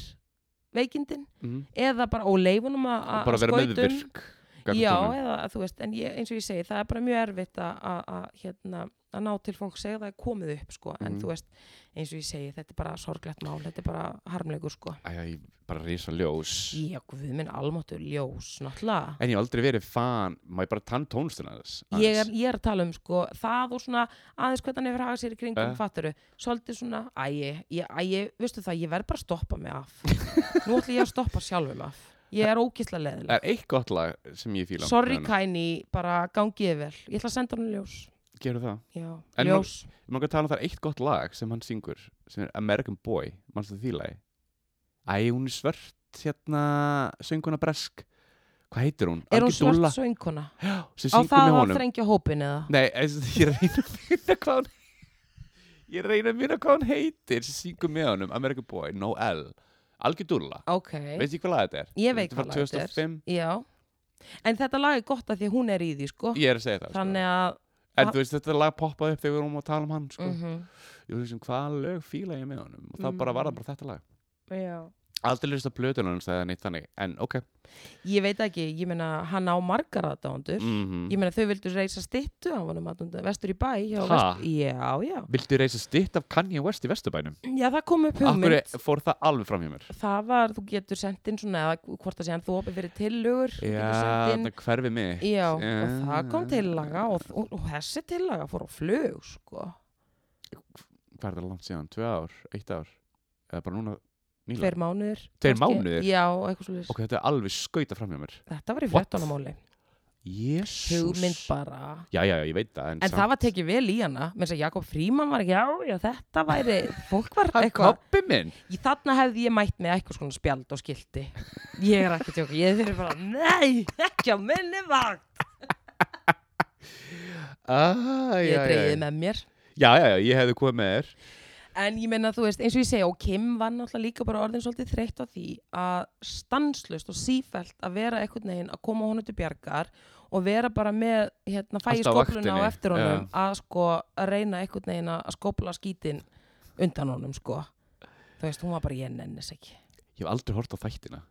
veikindin
Mhm.
eða bara óleifunum að
Og
að um-
bara vera
skautum.
meðvirk gagnvart
Já,
honum.
eða þú veist, en ég, eins og ég segi, það er bara mjög erfitt að- að að, hérna, að ná til fólk segja það er komið upp, sko, en
Mhm.
þú veist, eins og ég segi, þetta er bara sorglegt mál, þetta er bara harmleikur, sko.
Æ, æ, bara risa ljós
Já, guð minn, almáttur ljós, náttúrulega.
En ég hef aldrei verið fan, má ég bara tann tónstuna þess
Ég er, ég er að tala um, sko, það og svona aðeins hvernig hann hefur hagað sér í kringum,
Eh.
uh. fattaru, svolítið svona, æ, ég, æ, ég, veistu það, ég verð bara að stoppa mig af. Nú ætlum ég að stoppa sjálfum af. Ég er ókýrslega
Það
leðileg.
er eitt gott lag sem ég fíla
Sorry,
með hana.
Kaini, bara gangiði vel. Ég ætla að senda hann ljós.
Gerðu það
Já,
En nú-
ljós.
Ég maður að tala um það er eitt gott lag sem hann syngur sem er American Boy, mannstu því lagi Æ, hún er svört hérna, sönguna bresk Hvað heitir hún?
Er hún
Algjör dúlla
svart söngkona?
sem
Á
syngur
það
með
að
honum
þrengja hópin eða?
Nei, eins- ég reyna að finna hvað hún Ég reyna að finna hvað hún heitir sem syngur með honum, American Boy, No L Algjör dúlla
Ok,
Veit ekki hvað lag þetta er?
ég veit hvað lag
Þetta
þetta
er frá
er.
2005
Já, en þetta lag er gott af því að hún er í því, sko.
Ég er að segja það
Þannig að,
sko. En þú veist þetta lag poppaði upp þegar við erum að tala um hann sko.
mhm, Mm.
Ég veist um hvaða lög fíla ég með honum Og það bara var það bara þetta lag
já.
aldrei hlust á blöðunum hans eða neitt þannig en ok
Ég veit ekki, ég meina hann á margar aðdándur
Mhm.
Ég meina þau vildu reisa stittu á honum aðdándur Vestur í bæ hjá
Ha?
vest... Já, já
Viltu reisa stitt af Kanye West í Vesturbænum?
Já, það kom upp hugmynd
Akkur fór það alveg fram hjá mér
Það var, þú getur sendt inn svona eða hvort að sé hann þú opið fyrir tillögur þú getur
Já,
sent inn-
það hverfi mig
Já, og
Já.
það kom tillaga og, og, og þessi tillaga fór á flug, sko.
Hvað er það langt síðan? Tvö ár? Eitt ár? Eða bara núna nýla?
Tveir mánuðir.
Tveir
kannski.
mánuðir?
Já, eitthvað svolítið.
Ok, þetta er alveg skauta fram hjá mér
Þetta var í
What?
14. máli.
Jésús
Hugmynd bara.
Já, já, já, ég veit það
En það var tekið vel í hana. Mér að Jakob Fríman var ekki, já, já, þetta væri, fólk var
Hann
eitthvað.
koppi minn
Í þarna hefði ég mætt með eitthvað svona spjald og skildi. Ég er ekki tjóka. Ég þurfi bara, nei, ekki á minni vakt.
ah,
Ég
já, já,
dreigði
já.
með mér.
já, já, já, ég hefði komið með þér
En ég meina, þú veist, eins og ég segja, og Kim var náttúrulega líka bara orðin svolítið þreytt á því að stanslust og sífælt að vera einhvern veginn að koma honum til bjargar og vera bara með, hérna, fæ í
Alltaf á
skópluna
vaktinni,
á eftir honum að sko að reyna einhvern veginn að skópla skítin undan honum, sko. Þú veist, hún var bara, ég nennis ekki.
Ég hef aldrei hort á þættina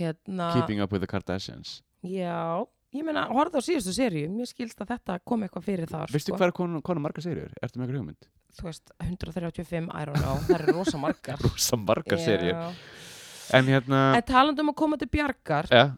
Hérna,
Keeping up with the Kardashians
já, ég meina, horfðu á síðustu seríu, mér skilst að þetta kom eitthvað fyrir þar,
Veistu
sko.
hvað er konan, konan margar seriur? Ertu með eitthvað hugmynd?
Þú veist, 135, I don't know, það eru rosa margar.
Rosa margar seriur
Já.
En hérna
En talandum um að koma til bjargar,
Já,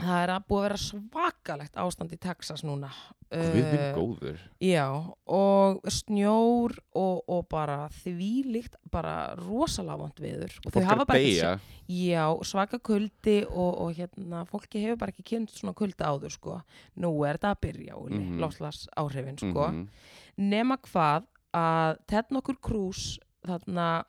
Það er að búið að vera svakalegt ástand í Texas núna.
við minn
Eh,
góður
Já, og snjór og, og bara þvílíkt, bara rosalávand viður. Og þau
Fólk er
hafa
að
bara ekki
deyja
sé- Já, svaka kuldi og, og hérna, fólki hefur bara ekki kynnt svona kulda áður, sko. Nú er þetta að byrja, Úli, mm
Mhm.
áhrifin, sko.
Mhm.
Nema hvað að Ted nokkur Cruz, þarna,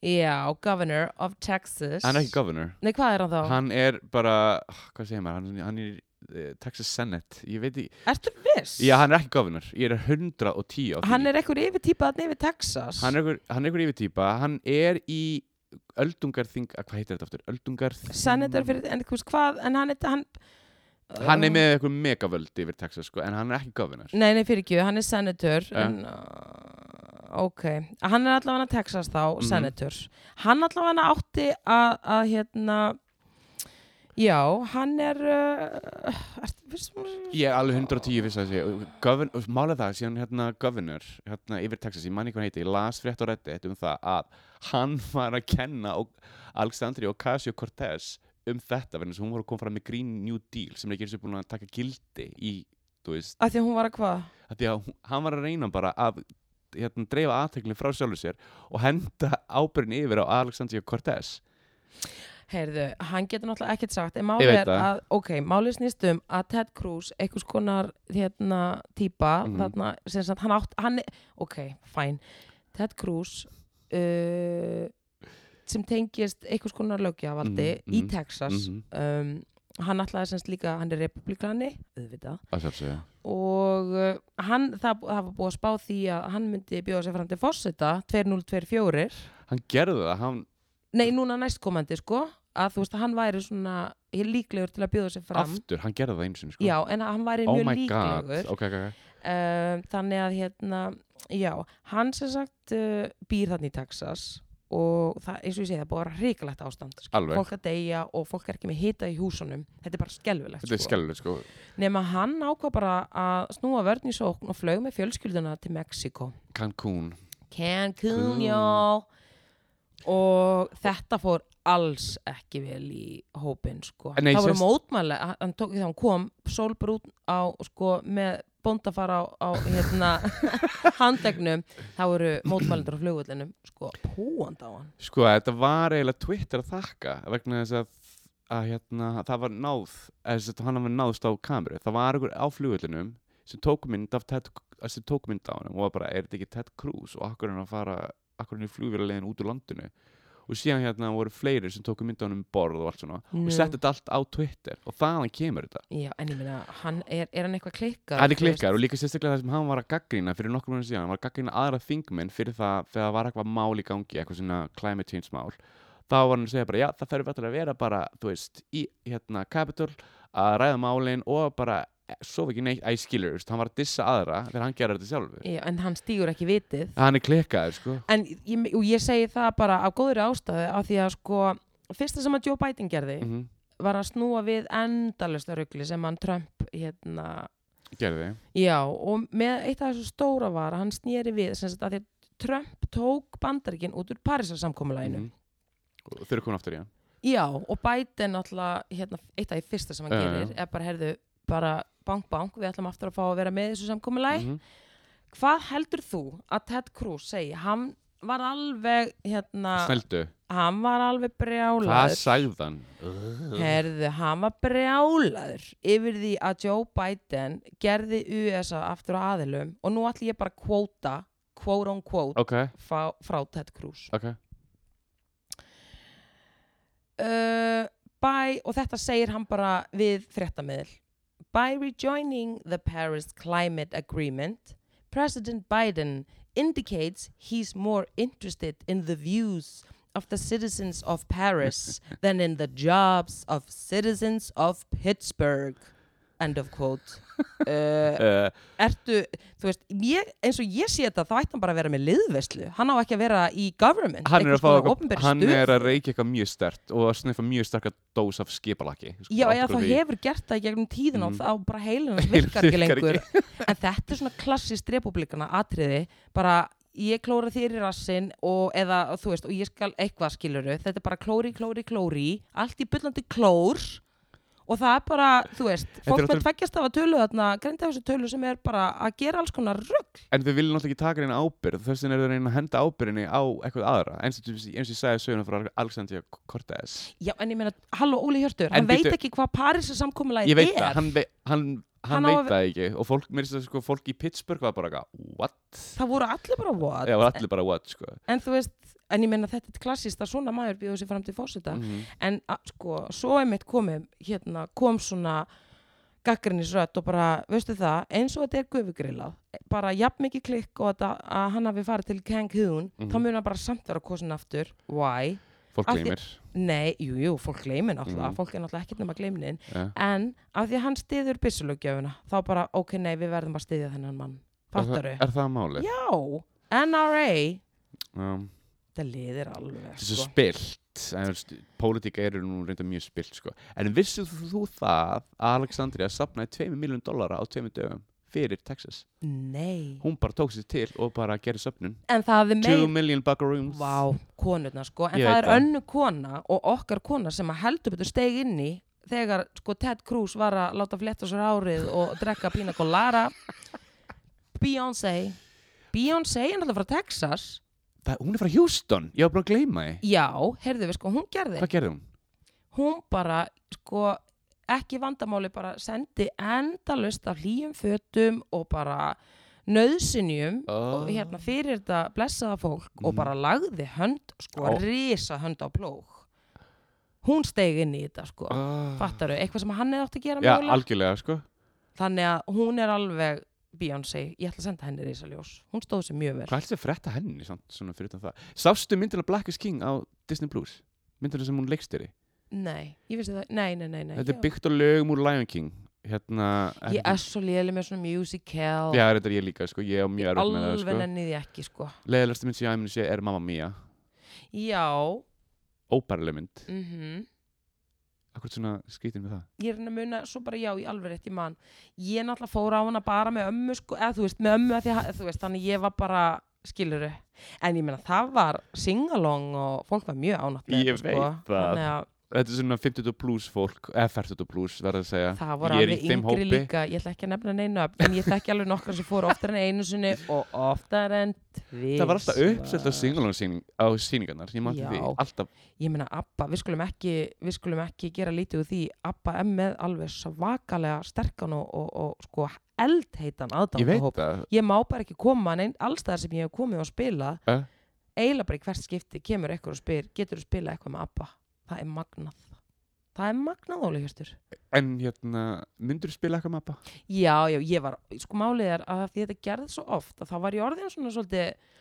já, governor of Texas.
Hann er ekki governor
Nei, hvað er hann þá?
Hann er bara, hvað segir maður, hann, hann er eh, Texas Senate, ég veit ekki
Ertu viss?
Já, hann er ekki governor, ég er 110 á því
hann er einhver yfirtýpa þarna yfir Texas
hann er einhver, hann er einhver yfirtýpa, hann er í öldungarþing, að hvað heitir þetta aftur öldungarþing,
senator fyrir, en þú veist hvað en hann er, hann,
hann er með einhver megavöldi yfir Texas sko, en hann er ekki governor
nei, nei, fyrir ekki, hann er senator
Ja.
en, uh, ok hann er allavega Texas þá,
Mhm.
senator hann allavega átti að, að hérna já, hann er uh, er, fyrst,
ég er alveg 110 fyrst að segja Govern, mála það, síðan hérna governor hérna yfir Texas, ég manni hvað heiti, ég las frétt og reddi um það að hann var að kenna og Alexandri Ocasio-Cortez um þetta, verðins hún voru að koma fram með Green New Deal sem er ekki eins og búin að taka gildi í, þú veist,
að því að hún var að hvað
að því að hún- hann var að reyna bara að hérna, dreifa aðteklinn frá sjálfur sér og henda ábyrðin yfir á Alexandria Cortez
Heyrðu, hann getur náttúrulega ekkert sagt en
Ég
málið
veit
er
það.
að, ok, málið snýst um að Ted Cruz, einhvers konar hérna típa,
Mhm.
þarna sem sagt, hann átt, hann, ok, fæn Ted Cruz uh, sem tengist einhvers konar lögjavaldi
Mhm,
í
mhm,
Texas
Mhm.
um, hann ætlaði semst líka, hann er republikani auðvitað,
að sjálfsögja
og uh, hann, það, það var búið að spá því að hann myndi bjóða sér fram til fórseta 2024
hann gerði það, hann
Nei, núna næstkomandi, sko að þú veist að hann væri svona ég líklegur til að bjóða sér fram
aftur, hann gerði það einu sinni sko.
Já, en að hann væri
oh
mjög
my god,
líklegur
ok, ok, ok
um, Þannig að hérna Já, hann sem sagt uh, býr þannig í Texas og það, eins og ég segi, það er búið að vera hrikalegt ástand skilur.
Alveg.
Fólk að deyja og fólk er ekki með hita í húsunum Þetta er bara skelfilegt
þetta er
sko.
skellulegt sko
Nefna hann ákvað bara að snúa vörn í sókn og flög með fjölskylduna til Mexiko
Cancún,
Cancún,
Cancún.
já og þetta fór alls ekki vel í hópin sko.
Nei,
það voru
sérst-
mótmæli hann, hann tók, þegar hann kom sólbrún á sko, með bóndafara á, á hérna, handegnum það voru mótmælindur á flugullinum sko, púand á hann
sko þetta var eiginlega Twitter að þakka vegna þess að að hérna, það var náð eða þess að hann var náðst á kameru það var einhver á flugullinum sem tók mynd af Ted, sem tók mynd á hann og var bara, er þetta ekki Ted Cruz og akkur er hann að fara akkur er hann í flugvélalegin út úr landinu og síðan hérna voru fleiri sem tóku mynd á hann um borð og allt svona
Nú.
og settu þetta allt á Twitter og þaðan kemur þetta
já, en ég meina, hann, er, er hann eitthvað klikkar
hann er klikkar og líka sérstaklega það sem hann var að gaggrína fyrir nokkur mjög síðan, hann var að gaggrína aðra þingmenn fyrir það, þegar það var eitthvað mál í gangi eitthvað svona climate change mál þá var hann að segja bara, já það þarf alltaf að vera bara, þú veist, í hérna Capitol að ræða málin og bara svo ekki neitt, að ég skilur, veist, hann var að dissa aðra þegar hann gerir þetta sjálfur
Já, en hann stígur ekki vitið
hann er klikkaður sko
en ég, og ég segi það bara af góðri ástæðu af því að sko fyrsta sem að Joe Biden gerði
mm -hmm.
var að snúa við endalösta rugli sem hann Trump hérna,
gerði,
já og með eitt af þessu stóra var að hann snýri við sem sagt að því að Trump tók bandaríkin út úr Parísarsamkomulæginu
Mhm. og þau eru komin aftur í hann
já og Biden alltaf hérna, eitt af því fyrsta sem hann
Já,
gerir er bara herðu bara bank bank við ætlum aftur að fá að vera með í þessu samkomulæg
mm
hvað heldur þú að Ted Cruz segi hann var alveg hérna
snældu,
hann var alveg
hvað
brjálaður
sagði hann
herðu, hann var brjálaður yfir því að Joe Biden gerði USA aftur á aðilum og nú ætlum ég bara að kvóta quote on quote
ok,
frá, frá Ted Cruz
ok
uh, by, og þetta segir hann bara við fréttamiðl By rejoining the Paris Climate Agreement President Biden indicates he's more interested in the views of the citizens of Paris than in the jobs of citizens of Pittsburgh end of quote uh,
uh,
ertu, þú veist ég, eins og ég sé þetta, þá ætti hann bara að vera með liðveslu hann á ekki að vera í government
hann, er að
einhvers
fá
konar
eitthvað-
opinber
hann
stuð.
er að reykja eitthvað mjög stert og að sniffa mjög sterka dós af skipalaki sko,
Já, eða
átta
þá
okkur á því.
hefur gert það í gegnum tíðin og
Mm.
þá bara heilin hans
Heilinn
virkar ekki
virkar ekki.
lengur en þetta er svona klassist republikana atriði, bara ég klóra þér í rassin og eða þú veist, og ég skal eitthvað skiluru þetta er bara klóri, klóri, klóri allt í byllandi klór og það er bara, þú veist, fólk
náttúrulega-
með tveggjast af að tölu þarna, greinda þessu tölu sem er bara að gera alls konar rugg
en þau vilja náttúrulega ekki taka neina ábyrð þess vegna er þau að reyna að henda ábyrðinni á eitthvað aðra eins og, eins og ég sagði söguna frá Alexandria Cortez
Já, en ég meina, halló Óli Hjörtur,
En
hann veit
bíddu-
ekki hvað Parísa samkomulega
ég veit
er
það, hann, vei, hann, hann,
Hann á að-
veit það ekki og fólk, mér finnst það sko, fólk í Pittsburgh var bara eitthvað, what?
það voru allir bara what
Já, var allir bara what sko.
en þú veist, en ég meina þetta er klassist að svona maður bjóðu sér fram til fórseta
mm
en að, sko, svo einmitt komum hérna, kom svona gaggrinnisrött og bara, veistu það eins og þetta er gufugrillað, bara jafn mikið klikk og að, að hann hafi farið til Cancún,
Mhm.
þá mun hann bara samt vera kosin aftur, why?
fólk
Af því-
gleymir
Nei, jú, jú, fólk gleymir náttúrulega,
Mhm.
fólk er náttúrulega ekkert nema gleymnin
ja.
en af því að hann stiður byssulöggjöfuna, þá bara, ok, nei, við verðum að stiðja þennan mann,
er, það-
fattaru?
er það máli?
Já, NRA
Um,
þetta liðir alveg,
þessu
sko
spilt en þú veist, pólitíka eru nú reynda mjög spilt sko. en vissið þú það að Alexandria sapnaði 2 miljón dollara á 2 dögum fyrir Texas
Nei
hún bara tók sér til og bara gerði söpnun
En það er
2
meir
million buckarooms
Vá, konurna sko En
Ég
það
veit
er
það.
önnu kona og okkar kona sem að heldur betur steig inn í þegar sko Ted Cruz var að láta fletta sér árið og drekka pina colada Beyoncé Beyoncé er náttúrulega frá Texas
Það, hún er frá Houston, ég var bara að gleyma því
Já, heyrðu við sko, hún gerði
hvað gerði hún?
hún bara sko ekki vandamáli bara sendi endalust af hlýjum fötum og bara nöðsynjum
Oh.
og hérna fyrir þetta blessaða fólk og
Mhm.
bara lagði hönd sko
Á.
risa hönd á plóg hún steig inn í þetta sko oh.
oh.
fattaru, eitthvað sem hann hefði átt að gera
já,
mögulega
algjörlega sko
þannig að hún er alveg Beyoncé, ég ætla að senda henni risa ljós hún stóð sér mjög vel
hvað helst þið að frétta henni samt, svona fyrir utan það sástu myndina Black is King á Disney Plus myndina sem hún leikstýri
nei, ég vissi það, nei, nei, nei, nei
þetta
já.
er byggt á lögum úr Lion King hérna
ég er svo léli með svona musical
Já, þetta er ég líka, sko, ég á mjög erfitt með það,
alveg
sko.
nenni því ekki sko
Leðilegsta mynd sem ég aðeins sé er Mamma Mia,
Já,
óbærileg mynd.
mhm
Akkur svona skrítin með það.
Ég er henni að muna, svo bara já, ég alveg rétt í mann Ég náttúrulega fór á hana bara með ömmu sko, eða þú veist, með ömmu að því að þú veist þannig ég var bara, skiluru En ég meina, það var singalong og fólk var mjög ánátt
Ég veit það.
sko. Þannig að
Þetta er svona 50 plus fólk, eða 40 plus, verður að segja.
það voru
Ég er í
alveg
þeim
yngri
hópi.
líka Ég ætla ekki að nefna neina upp En ég þekki alveg nokkar sem fóru oftar en einu sinni og oftar en tvís
Það var alltaf uppselt á singalón síning, á síningarnar, ég mátti
Já.
því, alltaf.
ég meina Abba, við skulum ekki við skulum ekki gera lítið úr því Abba er með alveg svakalega sterkan og, og, og sko eldheitan
Ég veit
aðdándahóp
það,
ég má bara ekki koma neinn allstæðar sem ég hef komið og spila
Eh?
eiginlega bara í hvert skipti kemur eitthvað og spyr getur þú spila eitthvað með Abba það er magnað það er magnað Óli Hjörstur
en hérna, myndur spila eitthvað mappa?
já, já, ég var, sko málið er að af því þetta gerði svo oft að þá var ég orðin svona svolítið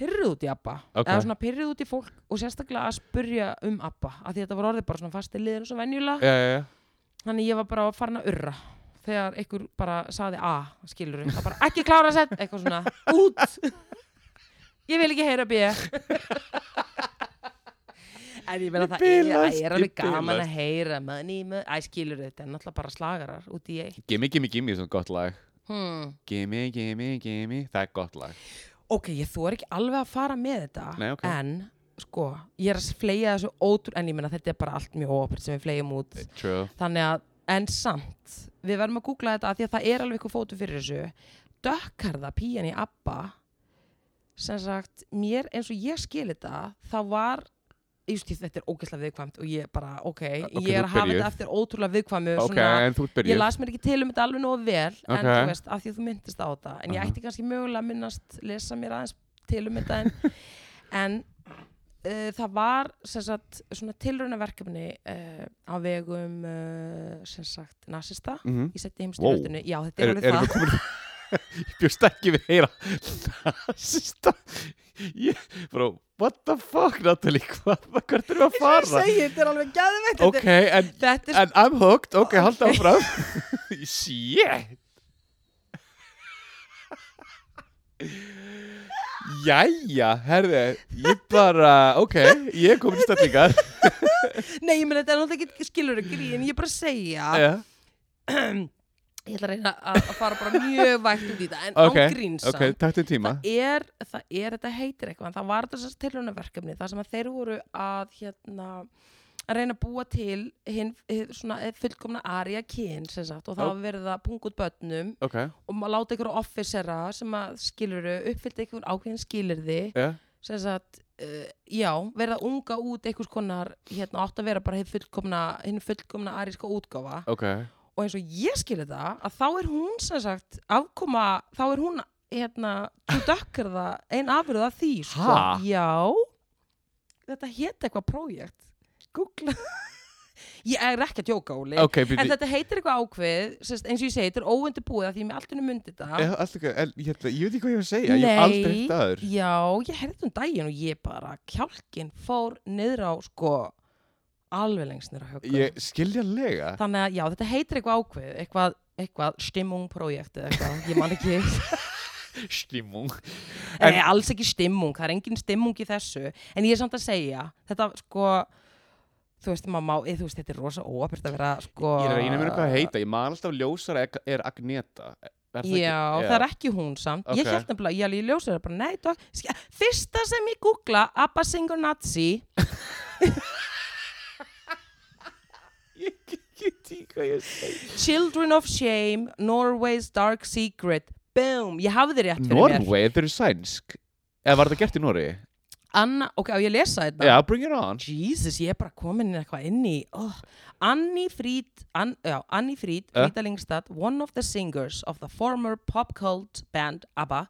pyrruð út í Abba
Ok.
eða svona pyrruð út í fólk og sérstaklega að spurja um Abba að því þetta var orðið bara svona fasti liður og svo venjulega
Já, já, já,
Þannig ég var bara farin að urra þegar einhver bara saði A, skilur það bara ekki klára sett, eitthvað svona, út ég vil ekki heyra B en ég meina það er, það
bilast,
er alveg
ég bilast.
gaman að heyra manni, manni, æ skilur þetta er náttúrulega bara slagarar út í eitt
Gimme, gimme, gimme, svona gott lag
hmm.
Gimme, gimme, gimme, það er gott lag
ok, ég þú er ekki alveg að fara með þetta
Nei, ok.
en sko, ég er að fleia þessu ótrú en ég meina þetta er bara allt mjög óopert sem við fleigjum út
True
þannig að, en samt við verðum að googla þetta af því að það er alveg eitthvað fótu fyrir þessu dökkarða píjan í Abba sem sagt, mér eins og ég skil þetta þá var ég veist, þetta er ógeðslega viðkvæmt og ég bara, ok,
ok,
ég er
þú
að hafa
byrjuð.
þetta eftir ótrúlega viðkvæmu
Ok,
svona,
en þú ert
ég
byrjuð
las mér ekki til um þetta alveg nógu vel en
Ok.
þú veist, af því að þú myndist á þetta en ég
Aha.
ætti kannski mögulega að minnast lesa mér aðeins til um þetta en, en uh, það var sem sagt svona tilraunaverkefni uh, á vegum uh, sem sagt nasista
mm -hmm.
í setni heimstyrjöldinu, já þetta er
Erum
alveg
erum
það
við komin Ég bjóst ekki við að heyra Nasista Ég, bara, what the fuck, Natalie Hvað, hvert erum við að fara?
segi, þetta er alveg gæðveitt
Ok, en,
þetta er
en I'm hooked Ok, halda áfram Shit Jæja, herði Ég bara, ok Ég er komin í stætlingar
Nei, ég meni þetta er náttúrulega ekki skilur að grín, ég er bara að segja
Já,
Ég ætla að reyna að að fara bara mjög vægt út í þetta en
Ok,
án grín samt
ok, takk til tíma
það er, það er, þetta heitir eitthvað en það var þessast tilhjónaverkefni þar sem að þeir voru að hérna að reyna að búa til hinn hið- svona eh, fullkomna aria kyn sem sagt og það
Ó.
var verið að punga út börnum
Ok,
og maður láta ykkur offisera sem að skiluru, uppfyllt ykkur ákveðin skilurði
já
sem sagt, uh, já, verið að unga út einhvers konar, hérna, átt að vera bara hinn fullkomna, hinn fullkomna aríska útgáfa
Ok,
og eins og ég skilur það að þá er hún sem sagt afkoma, þá er hún hérna, þú dökkar það ein afröð af því, sko,
Ha?
já þetta hétt eitthvað projekt Google ég er ekki að djóka, Óli
ok, býtti
en þetta heitir eitthvað ákveð sest, eins og ég segi, þetta er óundi búið af því ég með alltaf myndi þetta
Já, allt ekki, en ég, ætla, ég veit ekki hvað ég var að segja, ég hef
Nei.
aldrei eitt aður.
já, ég heyrði um daginn og ég bara kjálkin fór niður á, sko alveg lengst niður á högum
Ég skiljanlega.
þannig að já, þetta heitir eitthvað ákveð eitthvað, eitthvað stimmungprojekt eða eitthvað, ég man ekki
Stímung. En-
en, alls ekki stimmung, það er engin stimmung í þessu en ég er samt að segja, þetta sko þú veist, maður má, eh, þú veist, þetta er rosa óabirt að vera sko
Ég er að reyna mér hvað það heita, ég man alltaf ljósara er- er Agneta. Er
Já, það er ekki hún samt
Ok.
Ég held nefnilega, ég, ég ljósa það bara Nei, dog, sk- fyrsta sem ég googla Abba Singo Nazi
Ég get ekki hvað ég segi.
Children of Shame Norway's Dark Secret Boom, ég hafði rétt fyrir mér
Norway, þetta eru sænsk. Eða var þetta gert í Norri?
Anna, ok, á ég að lesa þetta
Já, bring it on.
Jesus, ég er bara komin inn eitthvað inn í oh. Annie Fried An, já, Annie Fried,
Eh?
Frida Lingstad one of the singers of the former pop cult band ABBA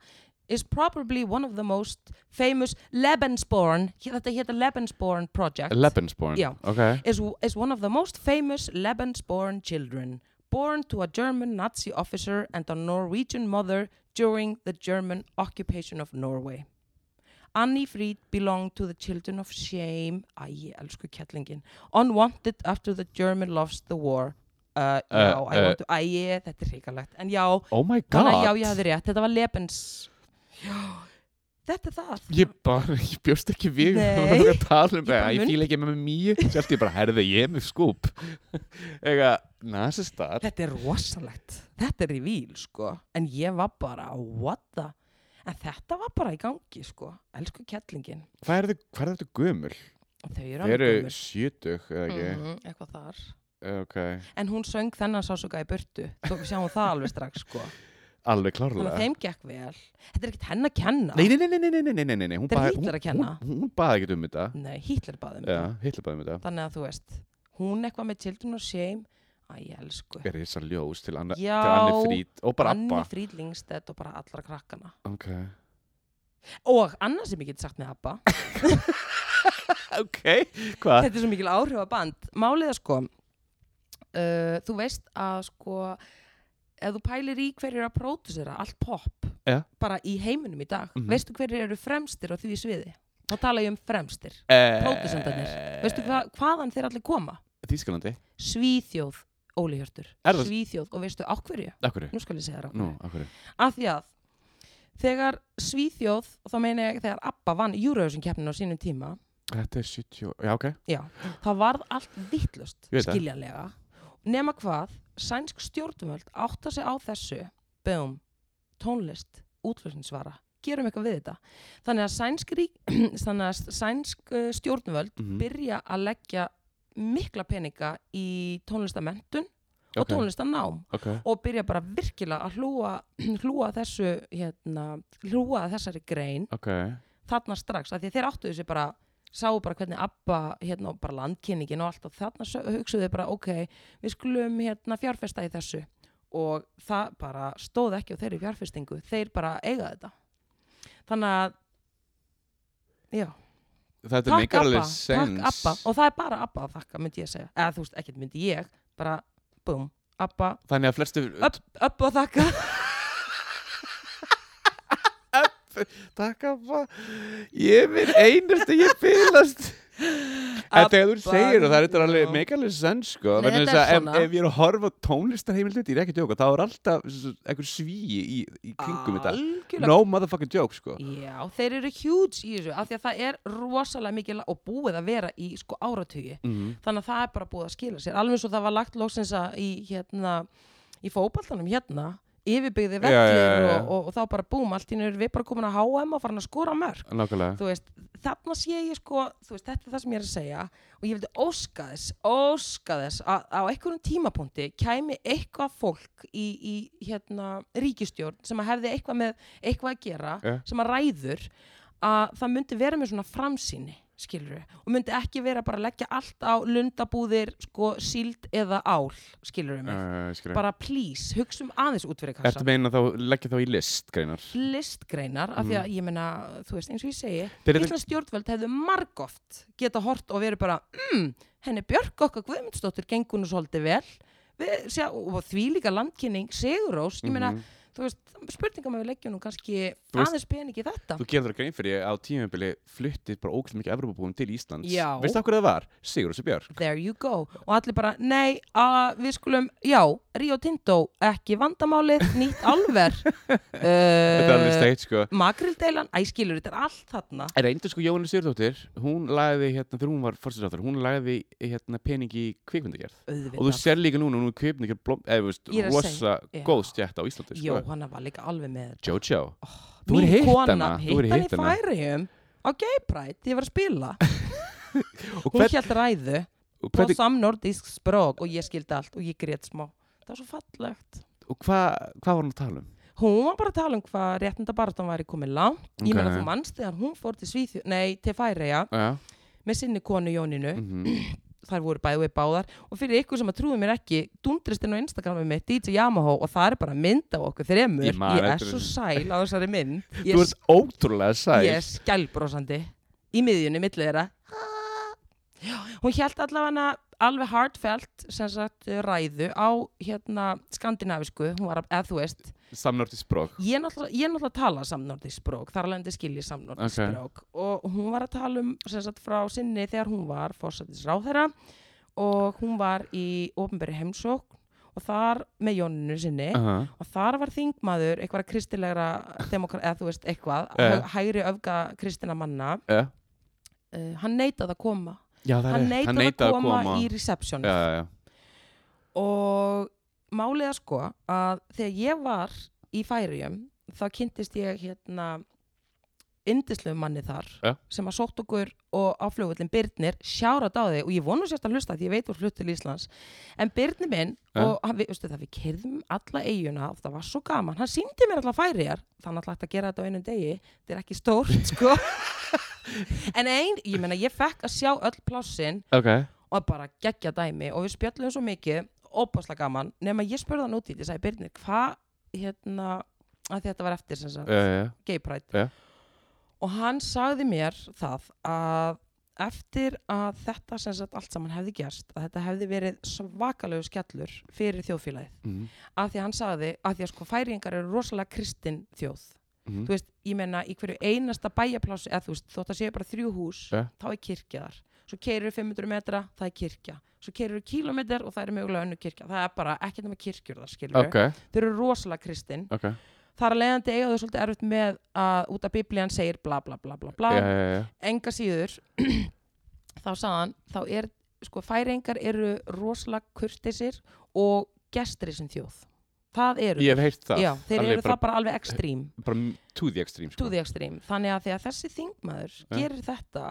is probably one of the most famous Lebensborn, hér- þetta hétta Lebensborn Project
Lebensborn.
Já.
Ok.
is, is one of the most famous Lebensborn children born to a German Nazi officer and a Norwegian mother during the German occupation of Norway. Annie Fried belonged to the children of shame Æ, ég elsku kettlingin Unwanted after the German lost the war uh, Já, I
Uh, uh.
want to Æ, þetta er hrikalegt En já,
Oh my
þannig að já,
god.
ég hafði rétt Þetta var Lebens Já, þetta er það
Ég bara, ég bjóst ekki við
Nei.
að vera að tala um
Ég bara
það, ég
mun-
fíla ekki með mjög, sjálft ég bara, herði, ég er með skúp. Ega, nasistar.
þetta er rosalegt þetta er í víl sko en ég var bara what the en þetta var bara í gangi sko elsku kettlingin
Hvað er þetta, hvað er þetta gömul?
þau eru
Þeir
alveg
eru
gömul.
sjötug, eða ekki? Eh,
Mhm, eitthvað þar
Ok,
en hún söng þennan sásuga í burtu þú sjáum það alveg strax sko þannig
alveg klárlega.
að þeim gekk vel þetta er ekkert henn að kenna
Nei, nei, nei, nei, nei, nei, nei, nei, nei, nei, hún
Þeir
bað-
Hitler
hún-
að kenna.
Hún, hún baði ekkert um þetta.
nei Hitler baði um
Já,
þetta
Hitler baði um þetta.
þannig að þú veist hún eitthvað með children of shame að ég elsku
Er þess að ljós til, anna, til
Já,
Anni Frít og bara Abba.
Anni Fríd Lingstedt og bara allra krakkana
Ok.
og annað sem ég get sagt með Abba
Ok, hvað?
þetta er svo mikil áhrifaband málið er sko uh, þú veist að sko ef þú pælir í hverjir að pródusera allt pop,
Ja.
bara í heiminum í dag
Mhm.
veistu hverjir eru fremstir á því sviði þá tala ég um fremstir
Eh,
pródusendarnir. veistu hva, hvaðan þeir allir koma
Þýskalandi.
Svíþjóð, Óli Hjörtur
Er það-
Svíþjóð og veistu á hverju?
Akkur,
Nú skal ég segja þér á
nú,
hverju
akkur
Af því að þegar Svíþjóð og þá meina ég þegar Abba vann Eurovision keppnin á sínum tíma
Þetta er 70, og- já ok
Já, það varð allt vittlust
Ég veit það.
skiljanlega nema hvað, sænsk stjórnvöld átta sig á þessu bögum, tónlist, útflutningsvara gerum eitthvað við þetta þannig að sænsk, rík, þannig að sænsk eh, stjórnvöld
mm
byrja að leggja mikla peninga í tónlistamentun og
Ok.
tónlistanám
Ok,
og byrja bara virkilega að hlúa, hlúa að þessu hérna, hlúa að þessari grein
ok
þarna strax, af því að þeir áttu þessi bara sáu bara hvernig Abba hérna og bara landkynningin og allt og þarna sö- hugsuðu þeir bara ok, við skulum hérna fjárfesta í þessu og það bara stóð ekki á þeirri fjárfestingu þeir bara eiga þetta þannig að já,
Þetta
takk
meikar
Abba,
alveg
takk
sens
Abba og það er bara Abba að þakka myndi ég segja, eða þú veist, ekkert myndi ég bara, búm, Abba
Þannig að flestu
upp, upp og þakka
Takk Abba Ég er minn einasti, ég fylast En þegar þú
Abba,
segir og það er þetta
já.
alveg meikar alveg sens sko
Nei,
vegna
þetta
þess
er
að ef,
svona.
ef ég er að horfa á tónlistarheimildið Ég er ekki að djóka, þá er alltaf s- einhver svíi í, í kringum þetta
algjörlega
No motherfucking joke sko
Já, þeir eru huge í þessu af því að það er rosalega mikið la- og búið að vera í sko áratugi
Mhm.
þannig að það er bara búið að skila sér alveg eins og það var lagt loksins að í hérna í fótballtanum hérna yfirbyggði
Já, já, já,
vellir
já.
Og, og, og þá bara búm allt í nýjur við bara komin að HM og farin að skora mörg
Nákvæmlega
þú veist, þarna sé ég sko þú veist, þetta er það sem ég er að segja og ég vildi óska þess, óska þess að á einhverjum tímapunkti kæmi eitthvað fólk í, í hérna, ríkistjórn sem að hefði eitthvað með eitthvað að gera,
Já.
sem að ræður að það myndi vera með svona framsýni skilur og myndi ekki vera bara að leggja allt á lundabúðir, sko, síld eða ál, skilur mig
Uh, skilurðu.
bara please, hugsum aðeins út fyrir
Ertu
kassa
meina þá, leggja þá í list, greinar?
listgreinar af því að ég meina, þú veist, eins og ég segi
Mm. Þeir eru-
Íslands stjórnvöld hefðu margoft geta hort og verið bara mm, henni Björk okkar Guðmundsdóttir gengur nú svolítið vel Við, sjá, og því líka landkynning Sigurós, ég meina, þú veist spurningum að við leggjum nú kannski
Mhm. Þú veist-
aðeins pening í þetta
Þú gerður það grein fyrir ég á tímabili fluttið bara ógæslega mikið Evropabúum til Íslands.
Já.
Veistu af hverju það var? Sigur og Sibjörn.
there you go og allir bara, nei, að við skulum já, Rio Tinto, ekki vandamálið nýtt alver
Þetta er alveg
uh,
steitt, sko.
makrildeilan, æskilur, þetta er allt þarna
En reyndur sko Jóhannes Sigurdóttir, hún lagði hérna, þegar hún var fórstinsáttur, hún lagði hérna pening í kvikmyndagerð.
auðvitað
Og þú sér líka núna, hún er kvikmyndagerð blóm, eða þú veist,
Ég er að
rosa
segja, já.
góð stjætt á Íslandi, sko.
Jóhanna var líka alveg með þetta.
Jojo.
Oh.
Þú
Mín
hefur hitt
kona
hana, þú hefur
hitt hana í
hitt hana.
færiðum á Gay Pride, ég var að spila
Og
hún
hvern-
hélt ræðu
og
á
hvernig,
samnordisk sprók og ég skildi allt og ég grét smá það var svo fallegt
og hvað hva var hún að tala um?
hún var bara að tala um hvað réttinda barðan væri komið langt ég
Ok.
meina þú manst þegar hún fór til Svíþjó nei, til Færiða
Já.
með sinni konu Jóninu
mhm.
þar voru bæði við báðar og fyrir ykkur sem að trúðu mér ekki dundristinn á Instagrami mitt DJ Yamaha og það er bara mynd af okkur þremur
Ég
ég,
man
er
eftir
svo
þessu.
sæl á þessari mynd ég
Þú ert ótrúlega sæl.
Ég er skælbrósandi í miðjunni, millu þeirra. Já, Hún hélt allavega alveg heartfelt sem sagt ræðu á hérna skandinavisku, hún var eða þú veist
Samnorti sprók.
ég náttúrulega, ég náttúrulega tala samnordisprók þar alveg endur skilji samnordisprók og hún var að tala um sem sagt frá sinni þegar hún var fórsættisráðherra og hún var í ofinberi heimsókn og þar með Jóninu sinni
Aha.
og þar var þingmaður eitthvað kristilegra demokar, eða þú veist eitthvað
Eh.
hæ- hægri öfga kristina manna
Já.
uh, hann neitaði að koma
Já, það er
hann
rétt.
neitaði, að, koma í reception
Já, já, já.
og málið er sko að þegar ég var í færium þá kynntist ég hérna yndislegum manni þar
Ja.
sem að sótt okkur og á flugvöllin Byrnir sjárat á þig og ég vonu sérst að hlusta því ég veit úr hlut til Íslands en Byrnir minn
Ja.
og hann, við, veistu það, við kerðum alla eiguna og það var svo gaman, hann síndi mér alla færiðar þannig að hægt að gera þetta á einum degi þetta er ekki stórt sko en ein, ég meina ég fekk að sjá öll plássin
Ok.
og bara geggja dæmi og við spjöllum svo mikið, óbáslega gaman nema ég spurði hann út í því, ég sagði Birnir hvað, hérna, að þetta var eftir sem sagt,
Já, já, já.
gay pride
Já.
og hann sagði mér það að eftir að þetta sem sagt allt saman hefði gerst, að þetta hefði verið svakalegu skellur fyrir þjóðfélagið
Mhm,
af því að hann sagði, af því að sko færingar eru rosalega kristin þjóð
mhm.
þú veist, ég meina í hverju einasta bæjarpláss eða þú veist, þótt að séu bara þrjú hús
Ja.
þá er kirkjaðar svo keirir 500 metra, það er kirkja svo keirir kilometr og það er mögulega önnur kirkja það er bara ekkert nema kirkjur það skilur
ok,
þau eru rosalega kristin
ok
þar að leiðandi eiga þau svolítið erfitt með að út af biblían segir bla bla bla bla bla
já, já, já, já.
enga síður þá sagðan, þá er sko færingar eru rosalega kurtisir og gestri sem þjóð það eru
ég hef heyrt það
Já, þeir
Alveg
eru
bara,
það bara alveg ekstrím
bara to the extreme sko.
to the extreme, þannig að þegar þessi þingmaður
Ja.
gerir þetta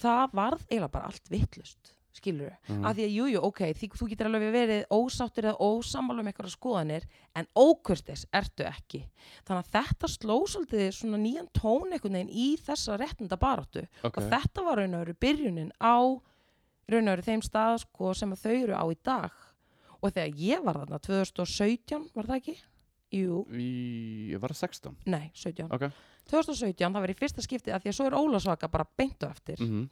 það varð eiginlega bara allt vittlust skilur þau,
Mhm.
af því að jújú, jú, ok því, þú getur alveg verið ósáttur eða ósammála um eitthvað skoðanir, en ókurtis ertu ekki, þannig að þetta sló svolítið svona nýjan tón einhvern veginn í þessa réttinda baráttu
ok,
og þetta var raun og veru byrjunin á raun og veru þeim stað sko, sem að þau eru á í dag og þegar ég var þarna 2017 var það ekki? Jú,
Í- var það 16
nei, 17
ok,
2017, það var í fyrsta skipti af því að svo er Ólasvaka bara beintu eftir
mhm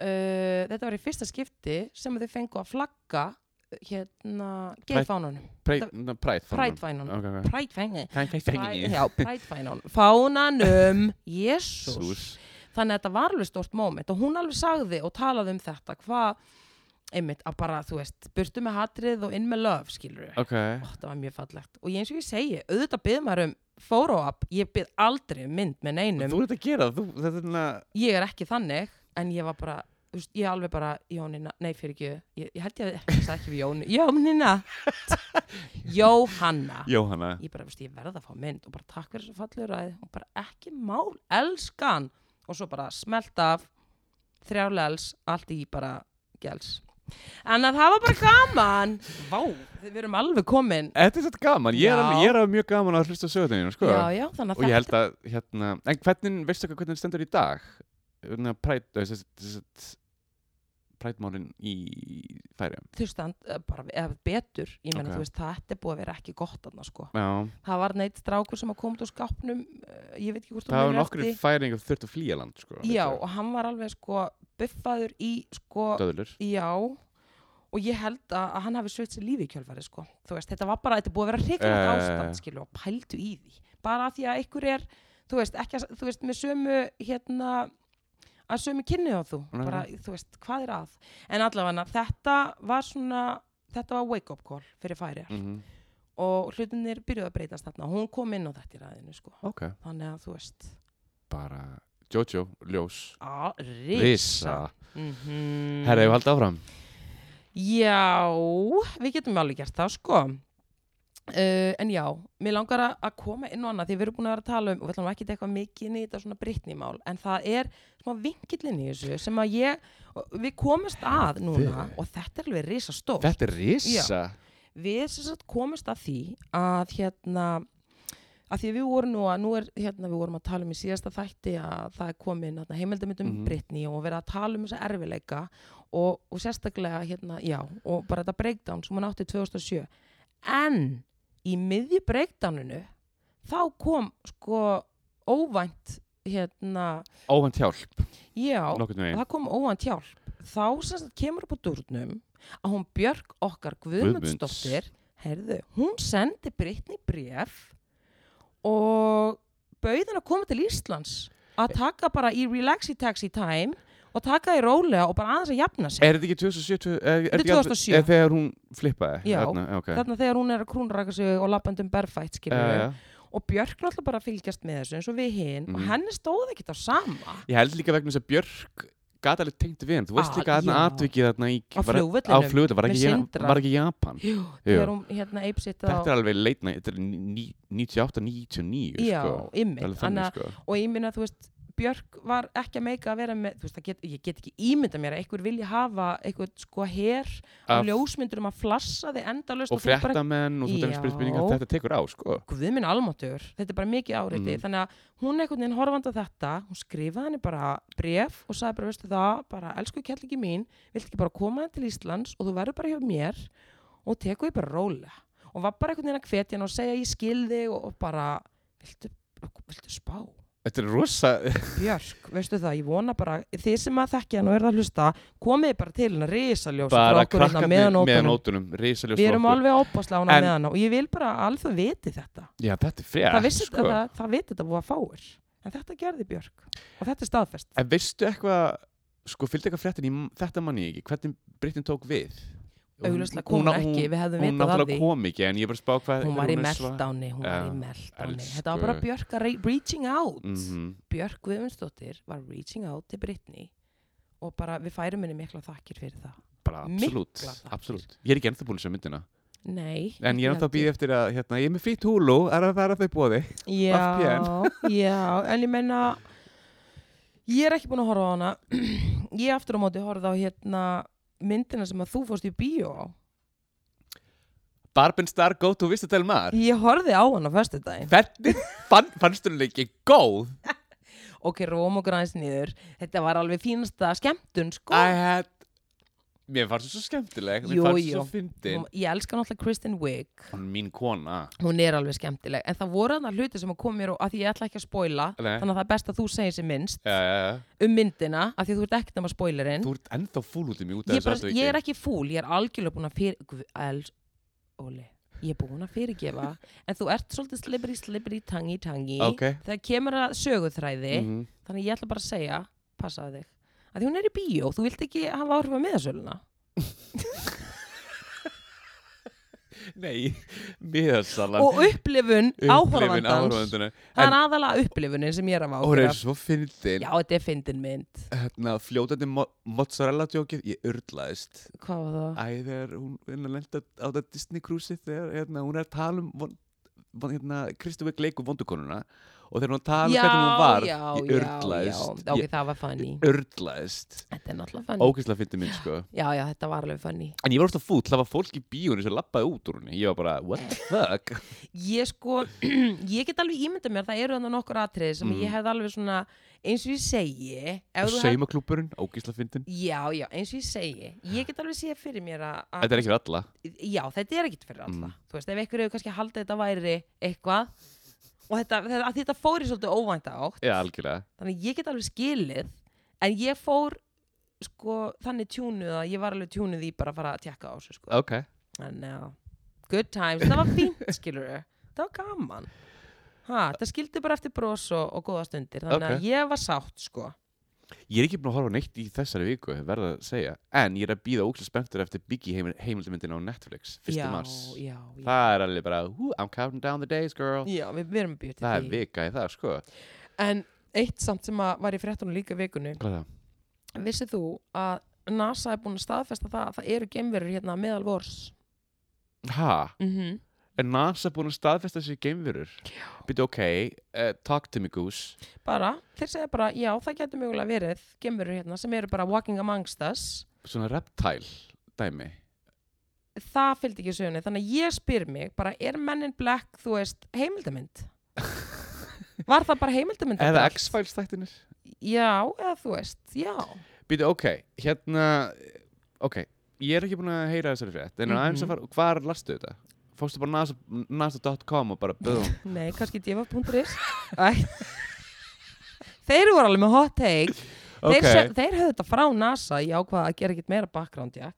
uh, þetta var í fyrsta skipti sem þau fengu að flagga uh, hérna, geifánunum,
Præ- na, Præð
prætfænunum
Ok, ok
prætfænunum
Præð
Já, prætfænan, fánanum Jésús
Sús
Þannig að þetta var alveg stort moment og hún alveg sagði og talaði um þetta hvað, einmitt, að bara, þú veist burtu með hatrið og inn með löf, skilur
Ok
Ó, þetta var mjög fallegt og eins og ég segi, auðvitað byrð maður um follow-up, ég byrð aldrei um mynd með neinum
Þú ert að gera það, þú, þetta er svona
ég er ekki þannig en ég var bara, þú veist, ég alveg bara Jónina, nei fyrir ekki, ég, ég held ég að ég sagði ekki við Jónu, Jónina Jóhanna
Jóhanna
ég bara, veist, ég verð að fá mynd og bara takk fyrir þessu fallegur ræð og bara ekki mál, elskan og svo bara smelt af þrjálels, allt í bara gels en að það var bara gaman vá, við erum alveg komin
Þetta er svolítið gaman, ég er,
Já.
alveg, ég er alveg mjög gaman að hlusta sögutinu, sko
já, já, þannig
Og
að
ég
þetta
held að, hérna En hvernig, veistu hvað, hvernig þetta stendur í dag? Hérna, eh, Þannig að Præð, þess að Præðmálin í færiðum
þú veist, hann, eh, bara, eða betur ég meina,
Ok.
þú veist, þetta er búið að vera ekki gott annars, sko
Já,
það var neitt strákur sem að koma út úr skápnum eh, ég veit ekki hvort
það
hann
var nokkri færingar þurft að flýja land, sko
já, og hann var alveg sko buffaður í sko
Döðlur
já, og ég held að, að hann hafi sveit sér lífi í kjölfari sko þú veist, þetta var bara, þetta er búið að vera hrikalegt
Eh.
ástand skilu og pældu í því bara af því að ykkur er, þú veist, ekki að, þú veist, með sömu, hérna að sömu kynni á þú,
Nei,
bara, þú veist, hvað er að en allavega, þetta var svona þetta var wake up call fyrir færi
Mhm.
og hlutinir byrjuðu að breytast þarna og hún kom inn á þetta í ræðinu sko
Ok,
þannig að þú veist
bara Jojo, ljós
á,
Risa
risa Mhm.
Herra, ég haldi áfram
já, við getum alveg gert það sko uh, en já, mér langar að- að koma inn á annað því við erum búin að vera að tala um og við ætlum ekki að eitthvað mikið inn í þetta svona brittnýmál en það er smá vinkillin í þessu sem að ég, og við komumst að núna og þetta er alveg risa stórt
Þetta er risa
við sem sagt komumst að því að hérna að því að við vorum nú að nú er hérna við vorum að tala um í síðasta þætti að það er komin hérna, heimildamindum mm
Mhm.
Brittany og verið að tala um þessa erfileika og, og sérstaklega hérna já og bara þetta breakdown sem hann átti 2007 en í miðju breakdowninu þá kom sko óvænt hérna
Óvænt hjálp,
já
nokkurn veginn
það kom óvænt hjálp þá sem sagt kemur upp á durnum að hún Björk okkar
Guðmunds.
Guðmundsdóttir herðu, hún sendi Brittany bref og bauð hann að koma til Íslands að taka bara í relaxi taxi time og taka í rólega og bara aðeins að jafna sig
Er þetta ekki 2007? Er, er
Þetta er
ekki aldrei-
2007.
Er þegar hún flippaði?
Já.
Þarna, ok. Eh,
þarna þegar hún er að krúnraka sig og lappandum berfætt skilur
Já,
við
já.
og Björk náttúrulega bara að fylgjast með þessu eins og við hinn og
Mhm.
henni stóð ekkert á sama
Ég held líka vegna þess að Björk gat alveg tengt við henn. Þú veist
Ah,
líka þarna
já.
atvikið þarna í...
Á
var- Á
flugvellinum,
flugvöldinu, var,
með
ekki-
Sindra.
var ekki í Japan.
Jú, þegar hún hérna eipsitt á
Þetta er alveg leitna, þetta er ní- 98, 99,
já,
sko.
ymmið,
Alveg
þannig að
þannig, sko.
og ég minna, þú veist, Björk var ekki að meika að vera með, þú veist, það get, ég get ekki ímynda mér að einhver vilja hafa einhver sko hér á
Af-
ljósmyndur um að flassa þig endalaust
Og
þú ert bara,
fréttamenn og þú dæmis spyrir
Já.
spurningar, þetta tekur á, sko.
guð minn almatur, þetta er bara mikið áreiti,
Mhm.
þannig að hún einhvern veginn horfandi að þetta, hún skrifaði henni bara bref og sagði bara, veistu það, bara elsku kjallingi mín, vilt ekki bara koma henni til Íslands og þú verður bara hjá mér og tekur því bara rólega og var bara einhvern veginn að hvetja henni og segja ég skilði og, og bara, viltu, viltu spá?
Þetta er rosa...
Björk, veistu það, ég vona bara þið sem að þekkja hann og eru að hlusta komið bara til hennar risaljós
bara
frá okkur hérna
krakkarnir
meðan
með
ótunum
nótunum. Risaljós
við erum
flokkur.
alveg opasla ána
En-
meðan og ég vil bara að alþjóð viti þetta
Já, þetta er frétt,
það vissi
sko.
þetta, það, það viti þetta búið að fáir en þetta gerði Björk og þetta er staðfest
En veistu eitthvað sko fylgdi eitthvað fréttin, ég, þetta mann ég ekki hvernig Brittin tók við Hún-
auglustlega kom hún
á-
ekki, við hefðum
hún
vitað að
náttúrulega
því
kom ekki en ég er bara að spá hvað
hún var í
hvernig er sva-
meldáni, hún var
Já,
í meldáni þetta var
elsku.
bara Björk að rey- reaching out
Mhm.
Björk Guðmundsdóttir var reaching out til Brittany og bara við færum henni mikla þakkir fyrir það
bara absolutt,
Miklar þakkir.
absolutt ég er ekki ennþá búin að sjá myndina
Nei,
en ég er ennþá að býða eftir að hérna, ég er með frýtt húlu, er að það er að þau bóði
Já, já, en ég menna ég er ekki búin að horfa á hana ég aftur á móti horfði á hérna myndina sem að þú fórst í bíó á.
Barbin Star Go to Visitel Mar
ég horfði á hana á föstudaginn
hvernig fann, fannst hún ekki góð
ok, róm og græns niður þetta var alveg fínasta skemmtun sko
I had mér fannst hún svo skemmtileg mér
Jú,
fannst hún
jú.
svo fyndin
Hún- ég elska náttúrulega Kristen Wiig
hún er mín kona
hún er alveg skemmtileg en það voru hann hluti sem að kom mér og að því ég ætla ekki að spoila
Nei.
þannig að það er best að þú segir sem minnst
ja, ja, ja.
um myndina af því að þú ert ekkert nema spoilerinn
þú ert ennþá fúl út í mig út af
ég,
þessu
bara, ég er
atviki.
ekki fúl, ég er algjörlega búin að fyrir Guð, els, Óli, ég er búin að fyrirgefa en þú ert svolítið slibri, slibri, tangi, tangi
Ok.
þegar kemur að söguþræði
Mhm.
þannig að ég ætla bara að segja, passaðu þig að því hún er í bíó, þú vilt ekki hafa áhrif á miðasöluna
Nei, miðasalan
og upplifun
Upplifun
áhorfandans
áhorfandans
það
En-
er aðalega upplifunin sem ég er að
og hún
áhrifa
er svo fyndin
já, þetta er fyndin mynd
hérna, fljótandi mo mozzarella djókið ég urlaðist
hvað var það?
Æ, þegar hún hérna, lenda á þetta Disney cruise þegar hérna, hún er að tala um von, von, hérna, Kristofik leikur vondukonuna og þegar hún er að tala um hvernig hún var
já,
ég urlaðist
já, já, ok,
ég
það var funny
urlaðist
þetta er náttúrulega funny
ógeðslega fyndin mynd sko
já, já, þetta var alveg funny
en ég var ofta fúll, það var fólk í bíónu sem lappaði út úr henni ég var bara, what
Eh.
the fuck
ég sko, ég get alveg ímyndað mér það eru þannig nokkur atriði sem
Mm.
ég hefði alveg svona eins og ég segi ef þú hef,
saumaklúpurinn, ógeðslega fyndin
já, já, eins og ég segi ég get alveg séð fyrir mér að að-
þetta er ekki fyrir alla
já, þetta er ekkit fyrir alla
Mm.
þú veist, ef einhverju hefur kannski haldið þetta væri eitthvað og þetta, þetta, að þetta fór í svolítið óvænt átt
já, algjörlega
þannig ég get alveg skilið en ég fór sko, þannig tjúnuð að ég var alveg tjúnuð í bara að fara að tjekka á þessu sko.
ok,
en já, good times það var fínt skilur það var gaman ha, það skildi bara eftir bros og, og góða stundir þannig
Ok.
að ég var sátt sko
ég er ekki búin að horfa á neitt í þessari viku verða að segja, en ég er að býða ógeðslega spenntur eftir Biggie heimil, heimildamindin á Netflix 1.
já,
mars
já, já.
það er alveg bara, "Woo, I'm counting down the days girl
já, við, við erum að byrja
það er
til því
vika í það, sko
en eitt samt sem að var í fréttunum líka í vikunni
hvað er það?
vissið þú að NASA er búin að staðfesta það að það eru gemverur hérna meðal vors
ha,
mm -hmm.
er NASA búin að staðfesta sér geimverur? byrja ok, uh, talk to me goose
bara, þeir segja bara, já, það getur mögulega verið gemverur hérna sem eru bara walking amongst us
svona reptile dæmi
það fylgdi ekki sögunni þannig að ég spyr mig bara er Men in Black þú veist heimildamynd var það bara heimildamynd
eða
þetta allt?
X-Files þættinir
já eða þú veist já
byrja ok, hérna ok, ég er ekki búin að heyra þessari frétt en mm
Mhm.
aðeins að fara, hvar lastu þetta? fórstu bara NASA nasa.com og bara boom
nei kannski djöfa.is Æ. þeir voru alveg með hot take
ok,
þeir, se- þeir höfðu þetta frá NASA ég ákvaða að gera ekkert meira background já.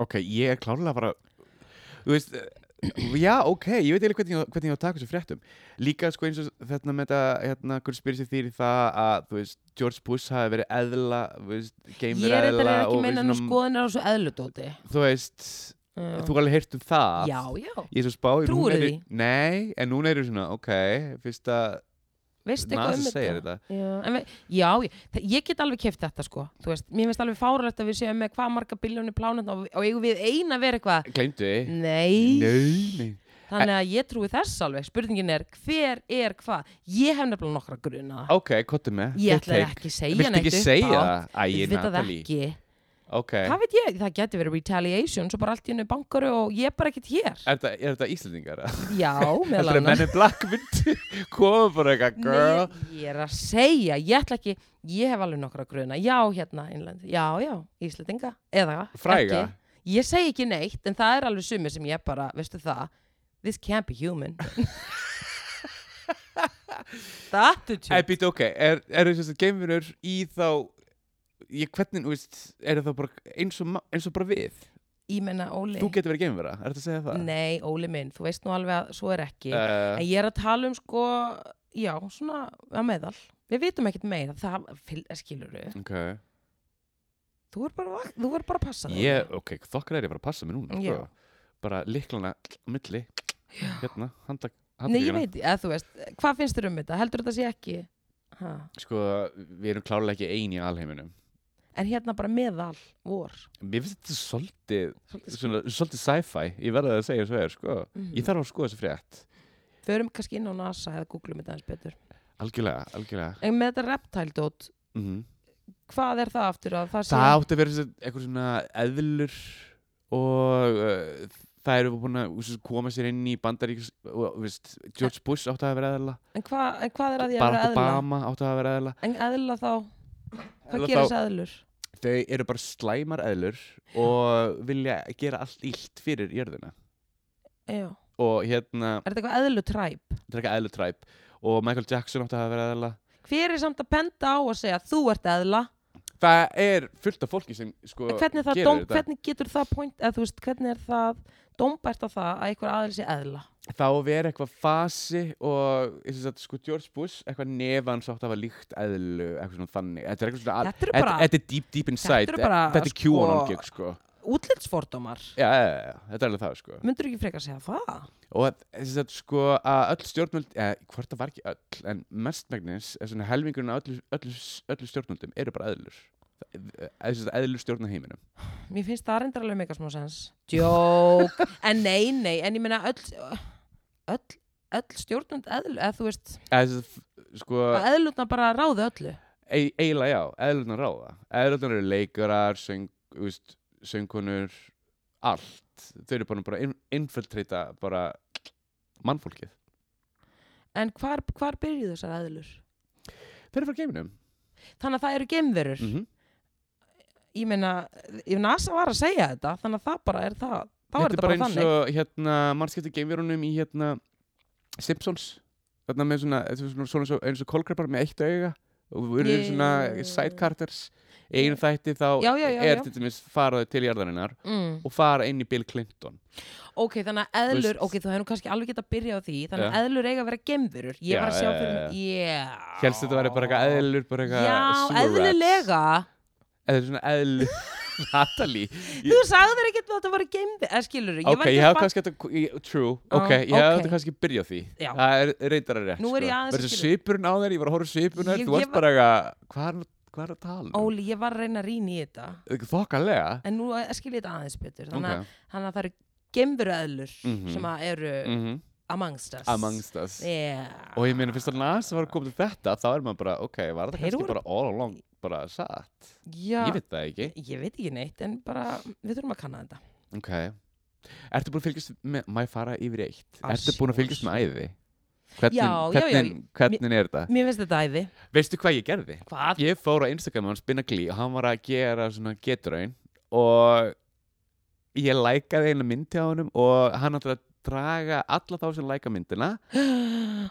ok, ég er klárlega bara þú veist eh, já, ok, ég veit eiginlega hvernig, ég á- hvernig ég á að taka þessu fréttum líka sko eins og þetta með þetta hérna, hvernig spyrir sér þýri það að þú veist, George Bush hafi verið eðla þú veist,
ég
geimverið
er þetta
eðla
ekki
og
meina
verið
nú
svona-
skoðinir á svo eðludóti
þú veist,
já
þú er alveg heyrt um það
já, já.
Ég er svo spáir,
Trúirðu
er,
því?
nei, en núna eru svona, ok, fyrst að
veistu eitthvað um
NASA
þetta
segir þetta.
Já, en við, já ég, þa- ég get alveg keft þetta sko Þú veist, mér finnst alveg fáralegt að við séum með hvað marga biljónir plánetna og, og eigum við eina að vera eitthvað
Gleimdu þið?
Nei,
Nei,
þannig að ég trúi þess alveg Spurningin er, hver er hvað? Ég hef nefnilega nokkra gruna
Ok, kottu með.
Ég
þitt
ætla
take.
ekki að segja
Viltu ekki segja það? Æ,
Ég veit það
Natalie.
ekki
Ok.
Hvað veit ég, það geti verið retaliation Svo bara allt í hennu bankaru og ég er bara ekkert hér
Er þetta, er þetta Íslendingar?
Já, meðal
Þetta er
annars
menni black myndi koma bara eitthvað, girl.
Nei, ég er að segja, ég ætla ekki ég hef alveg nokkra gruna, já hérna innlend, já, já, Íslandinga eða
Fræga.
ekki, ég segi ekki neitt en það er alveg sumi sem ég bara, veistu það this can't be human það attitude
Nei, býttu, ok, er, er þess að geimvinur í þá, ég, hvernig, þú veist, er það bara eins og, ma- eins og bara við?
ég menna Óli,
Þú getur verið geimvera, er þetta að segja það? Eh.
nei Óli minn þú veist nú alveg að svo er ekki
Uh,
en ég er að tala um sko já, svona að meðal við vitum ekkert meira það skilur við
ok
þú er bara, vak- þú er bara að passa þig.
ég, ok, þokkar er ég bara að passa mig núna sko.
Já.
bara liklana á milli hérna, handak
Nei, ég veit, eða þú veist, hvað finnst þér um þetta? Heldur þetta sé ekki? Ha.
sko, við erum klárlega ekki ein í alheiminum
En hérna bara meðal vor.
mér finnst þetta svolítið
Svolítið sko.
svona, svolítið sci-fi, ég verði að segja svo er sko.
Mm.
ég þarf að sko þessu frétt
Förum kannski inn á NASA eða googlum þetta eins betur.
algjörlega, algjörlega
En með þetta reptildót,
mm
hvað er það aftur að það sé?
það átti að vera sem sagt eitthvað svona eðlur og uh, það eru búin að úst, koma sér inn í bandaríkis og, veist, George Bush átti að vera eðla
En, hva, en hvað er að því að vera
Barack
eðla?
Obama átti að vera eðla
En eðla þá, hvað
Eðla
gerir
þá-
þessi eðlur?
þau eru bara slæmar eðlur og vilja gera allt illt fyrir jörðina
Já.
og hérna,
Er þetta eitthvað eðlutræp?
þetta er ekki eðlutræp og Michael Jackson átti að vera eðla
Hver er samt að penda á að segja þú ert eðla?
það er fullt af fólki sem sko,
En hvernig, það
gerir
dóm,
þetta.
hvernig getur það point, eða þú veist, hvernig er það dómbært á það að einhver aðeins sé eðla?
þá veri eitthvað fasi og ég syns að sko George Bush eitthvað nefan svo átt að hafa líkt eðlu eitthvað svona þannig þetta er eitthvað svona
Þetta eru
þetta-
bara-
þetta er deep deep inside
Þetta eru bara,
þetta er
sko-
QAnon gig sko
Útlitsfordómar.
já, já, já, já, þetta er alveg það sko
Myndur ekki frekar segja það?
og að- ég syns að sko að öll stjórnvöld eða hvort það var ekki öll en mestmægnis er svona helmingurinn af öllu, öllu, öllu stjórnvöldum eru bara eðlur eða þess að eðlur stjórna heiminum
Mér finnst það reyndar alveg meika smá sens. Djók. en nei, nei, en ég meina öll, öll, öll stjórnund eðlu, eða þú veist,
eða þess að sko
að eðlutna bara ráðu öllu.
Ei- eiginlega já, eðlurnar ráða eðlurnar eru leikarar, söng, úst, söngunur allt, þau eru bara, bara in- infiltrita bara mannfólkið,
En hvar, hvar byrjuðu þessar eðlur?
þau eru frá geiminum
Þannig að það eru gemverur.
mm -hmm.
Ég meina, ef NASA var að segja þetta, þannig að það bara er það. Þá er þetta bara,
eins
þannig.
og hérna, mannskipti geimverunum í hérna Simpsons þarna með svona, þetta er svona, svona, svona eins og kolkrepar með eitt auga og við erum
Ég-
svona side characters í einu þætti þá
Já, já, já,
er
já.
til dæmis faraðu til jarðarinnar
Mm.
og fara inn í Bill Clinton
Ok, þannig að eðlur,
Þú
ok, þú hefur nú kannski alveg getað að byrja á því, þannig að
Já.
eðlur eiga að vera gemverur. Ég
Já,
var að sjá
já,
fyrir
já,
mig, yeah.
Helst þetta væri bara eitthvað eðlur, bara eitthvað
Já,
sewer rats.
eðlilega.
eða svona eðl Natalie
Þú sagðir ekkert að þetta var geimvi eða skilur, ég
ok,
var
ég
ekki að
hef
fatta
kannski þetta í- true,
Já,
ok, ég hef
ok.
þetta kannski byrjað á því
Já.
það er reyndar að rétt
Nú er ég aðeins að
þessi
skilja.
svipurinn á þér, ég var að horfa svipurinn á þér
Ég-
þú
ég
varst bara eitthvað, hvað er hvað er að tala um?
Óli, ég var að reyna að rýna í þetta
Ekki þokkalega
en nú eh, skil ég þetta aðeins betur þannig,
Ok.
að, þannig að það eru gemveruðlur
Mhm.
sem að eru
Mhm.
amongst us
amongst us
yeah.
og ég meina, fyrst að NASA var að koma til þetta þá er maður bara, ok, var þetta
Þeir
kannski
voru-
bara all along bara satt,
Já,
ég veit það ekki
ég veit ekki neitt en bara við þurfum að kanna þetta
ok, ertu búin að fylgjast með, maður fara yfir eitt
Að
ertu búin að fylgjast með æði
Já,
hvernig,
já, já,
hvernig, hvernig er þetta
Mér finnst þetta æði
Veistu hvað ég gerði?
Hvað?
Ég fór á Instagram hans Binna Glee og hann var að gera svona getraun og ég lækaði einu myndi á honum og hann átti að draga alla þá sem læka myndina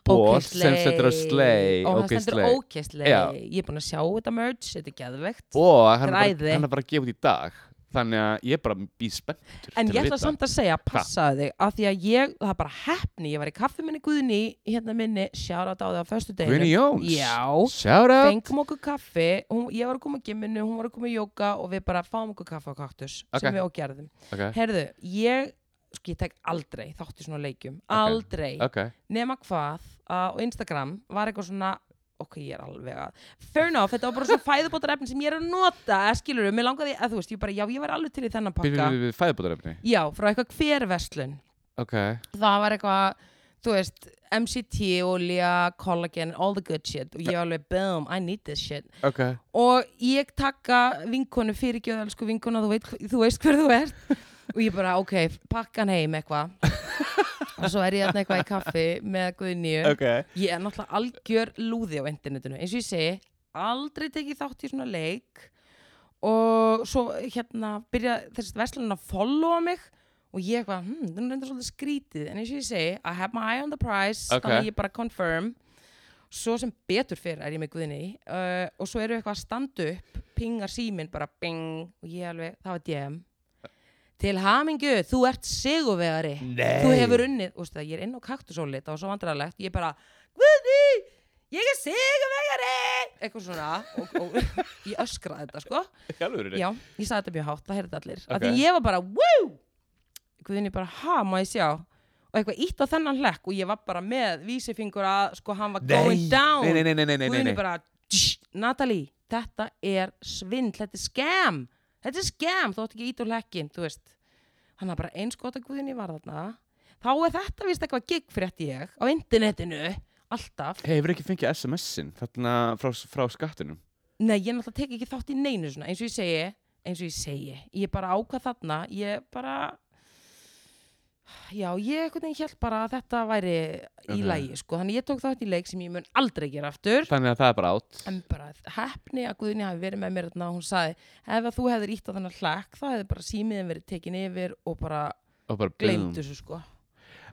Boss sem stendur á slay,
Og
ok,
það stendur
slay.
ókesslei
Já.
Ég er búin að sjá þetta merge, þetta er geðvegt
og hann er
Græði.
bara, hann er bara að gefa út í dag þannig að ég er bara býð spenntur
En
til
ég
að
ætla
vita.
samt að segja, passaðu þig að því að ég, það er bara hefni, ég var í kaffi minni Guðni, hérna minni, sjára á það á föstu deginu.
Guðni Jóns
Já,
Shout out
fengum okkur kaffi, hún, ég var að koma í gimminu, hún var að koma í jóka og við bara fáum okkur kaffi á kaktus
Ok.
sem við ógerðum.
Ok,
Herðu, ég, sko ég tek aldrei þátt í svona leikjum, aldrei,
ok
nema hvað að, og Instagram var eitthvað svona, ok, ég er alveg að, fair enough, þetta var bara svona fæðubótar efni sem ég er að nota, skilur mér langaði, að þú veist, ég bara, já, ég var alveg til í þennan
Við,
pakka.
við, við, við fæðbótarefni
Já, frá eitthvað hververslun
Ok,
það var eitthvað, þú veist MCT, olja, collagen all the good shit og ég alveg boom, I need this shit
ok
og ég takka vinkonu fyrirgjöð elsku vinkona, þú, veit, þú veist hver þú ert og ég bara, ok, pakkan heim eitthvað og svo er ég þarna eitthvað í kaffi með Guðnýju
Ok
ég er náttúrulega algjör lúði á internetinu eins og ég segi, aldrei tekið þátt í svona leik og svo hérna byrja þessi verslun að followa mig og ég eitthvað, hm, það er nú reyndar svolítið skrítið en eins og ég segi, I have my eye on the prize
Ok.
þannig að ég bara confirm svo sem betur fyrr er ég með guðinni uh, og svo eru eitthvað að standa upp pingar síminn bara bing og ég alveg, það var DM til hamingu, þú ert sigurvegari
Nei
þú hefur unnið, úst það, ég er inn á kaktusólit og svo vandrarlegt, ég bara Guði, ég er sigurvegari eitthvað svona og, og ég öskraði þetta sko
Í alvörunni?
já, ég sagði þetta mjög hátt, það heyrði allir okay.
Ok.
af því ég var bara, woo Guðinni bara, ha, má ég sjá og eitthvað ítt á þennan hlekk og ég var bara með vísifingur að sko hann var going down
nei, nei, nei, nei, nei, nei,
Guðinni
nei.
bara, tsh, Natalie þetta er svindl, þetta er scam þetta er scam, þú átt ekki ít á hlekkin þú veist, hann er bara einskota Guðinni var þarna þá er þetta vist eitthvað gig frétt ég á internetinu, alltaf
Hefur ekki fengið SMS-in þarna frá, frá skattinum?
Nei, ég náttúrulega tek ekki þátt í neinu svona, eins og ég segi, eins og ég segi, ég bara ákvað þarna, ég bara, já, ég einhvern veginn held bara að þetta væri í
Ok.
lægi, sko, þannig ég tók þátt í leik sem ég mun aldrei gera aftur,
Þannig að það er bara átt.
en bara heppni að Guðni hafi verið með mér þarna og hún sagði, ef að þú hefðir ítt á þennan hlæk, þá hefði bara símiðin verið tekin yfir og bara
Og bara
gleymt
gleymt.
þessu, sko.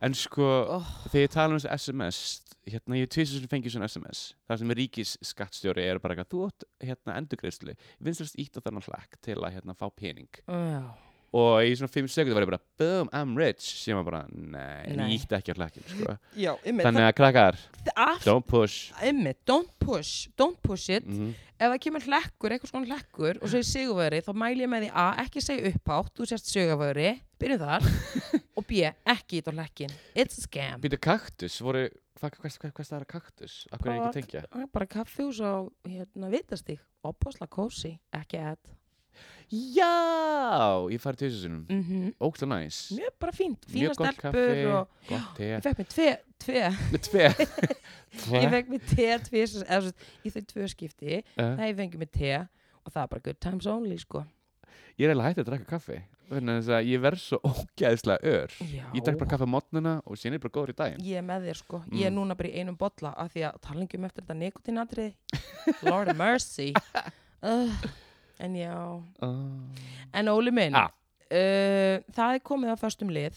En sko,
Oh.
þegar ég tala um þessi SMS, hérna, ég tvisur sem fengið svona SMS, þar sem ríkis skattstjóri er bara eitthvað, þú átt hérna endurgreyslu, vinstast ítt á þennan hlæk til að hérna fá pening.
Já,
Og í svona 5 sekundur var ég bara, boom, I'm rich, sem var bara, nei, en
Nei.
ég ítti ekki á hlækjum, sko.
já, ymmið,
Þannig að krakkar,
allt,
don't push.
ymmið, don't push, don't push it,
Mm
ef það kemur hlekkur, eitthvað svona hlekkur og segir sigurveri, þá mæl ég með því A ekki segja upphátt, þú sérst sigurveri byrjum þar, og B ekki ít á hlekkin, it's a scam
Býtu kaktus, voru, hvað hva, hva, hva, hva er kaktus? Akkur er ég ekki að tengja?
það er Ah, bara kaffjús á hérna vitastík, opasla kósi ekki að,
Já, ég farið tvisur sinum.
mm
Ógla næs.
mjög bara fínt fína
Mjög gott
stelpur
kaffi.
og
Gott te.
ég fekk mér tve, tve
Tve.
ég
Tve.
fekk mér te, tve, eða, svo- í þau tvö skipti,
Eh,
það ég fengi mér te og það er bara good times only sko
Ég er eiginlega hægt að drakka kaffi. Þannig að ég verð svo ógæðislega ör.
Já.
Ég drakk bara kaffi á mótnuna og síðan er ég bara góður í daginn.
Ég er með þér sko, ég er
Mm.
núna bara í einum bolla af því að talingum eftir þetta nikotinatrið Lord of mercy uh, En já
Oh.
En Óli minn
Ah.
uh, Það er komið að föstum lið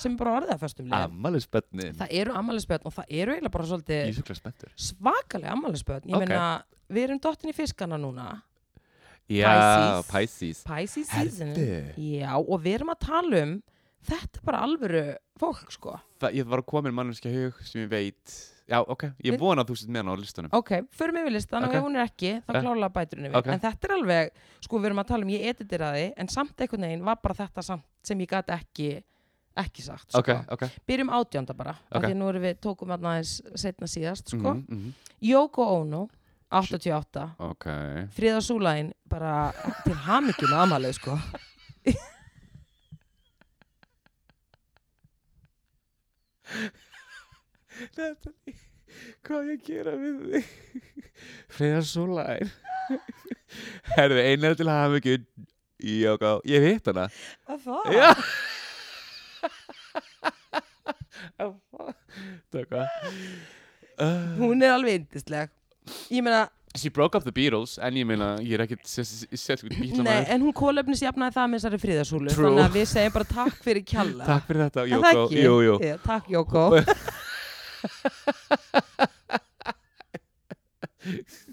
sem er bara orðið að föstum lið
Amalisbönnin.
Það eru ammælisbjörn og það eru eiginlega bara
Ég er
svolítið
svo spenntur.
svakalega ammælisbjörn Ég
Ok.
meina, við erum dottin í fiskana núna
Já,
Pisces.
Pisces.
Pisces season
Herðu.
Já, og við erum að tala um þetta er bara alvöru fólk sko
Það- Ég var að koma inn manneskja hug sem ég veit. Já, ok. Ég
Við-
vona að þú sitt með hana á listunum.
Ok, förum yfir listan
Ok.
og ef hún er ekki þá
Ja.
klála bæturinn við
Ok.
en þetta er alveg, sko við erum að tala um ég editiraði en samt einhvern veginn var bara þetta samt sem ég gat ekki ekki sagt, sko.
Ok, ok.
byrjum átjönda bara af
Ok.
því að nú erum við tókum að aðeins setna síðast, sko,
Mhm, mhm.
Yoko Ono 88,
Ok.
Fríða Súlæn bara til hamingjum aðmalið, sko
Natalie, hvað á ég að gera við þig? Freyða Súlær. Herðu, einar til að hafa mikið í okkar. Ég hef hitt hana.
Að það?
Já. Takk að. Uh,
Hún er alveg yndisleg Ég meina,
she broke up the Beatles, en ég meina, ég er ekkert sérstaklega
nei,
bítlamaður.
en hún kólefnis jafnaði það með þessari fríðasúlu
True.
þannig að við segjum bara takk fyrir kjalla
Takk fyrir þetta,
Er það
Jóko.
ekki?
Jú, jú.
Já, takk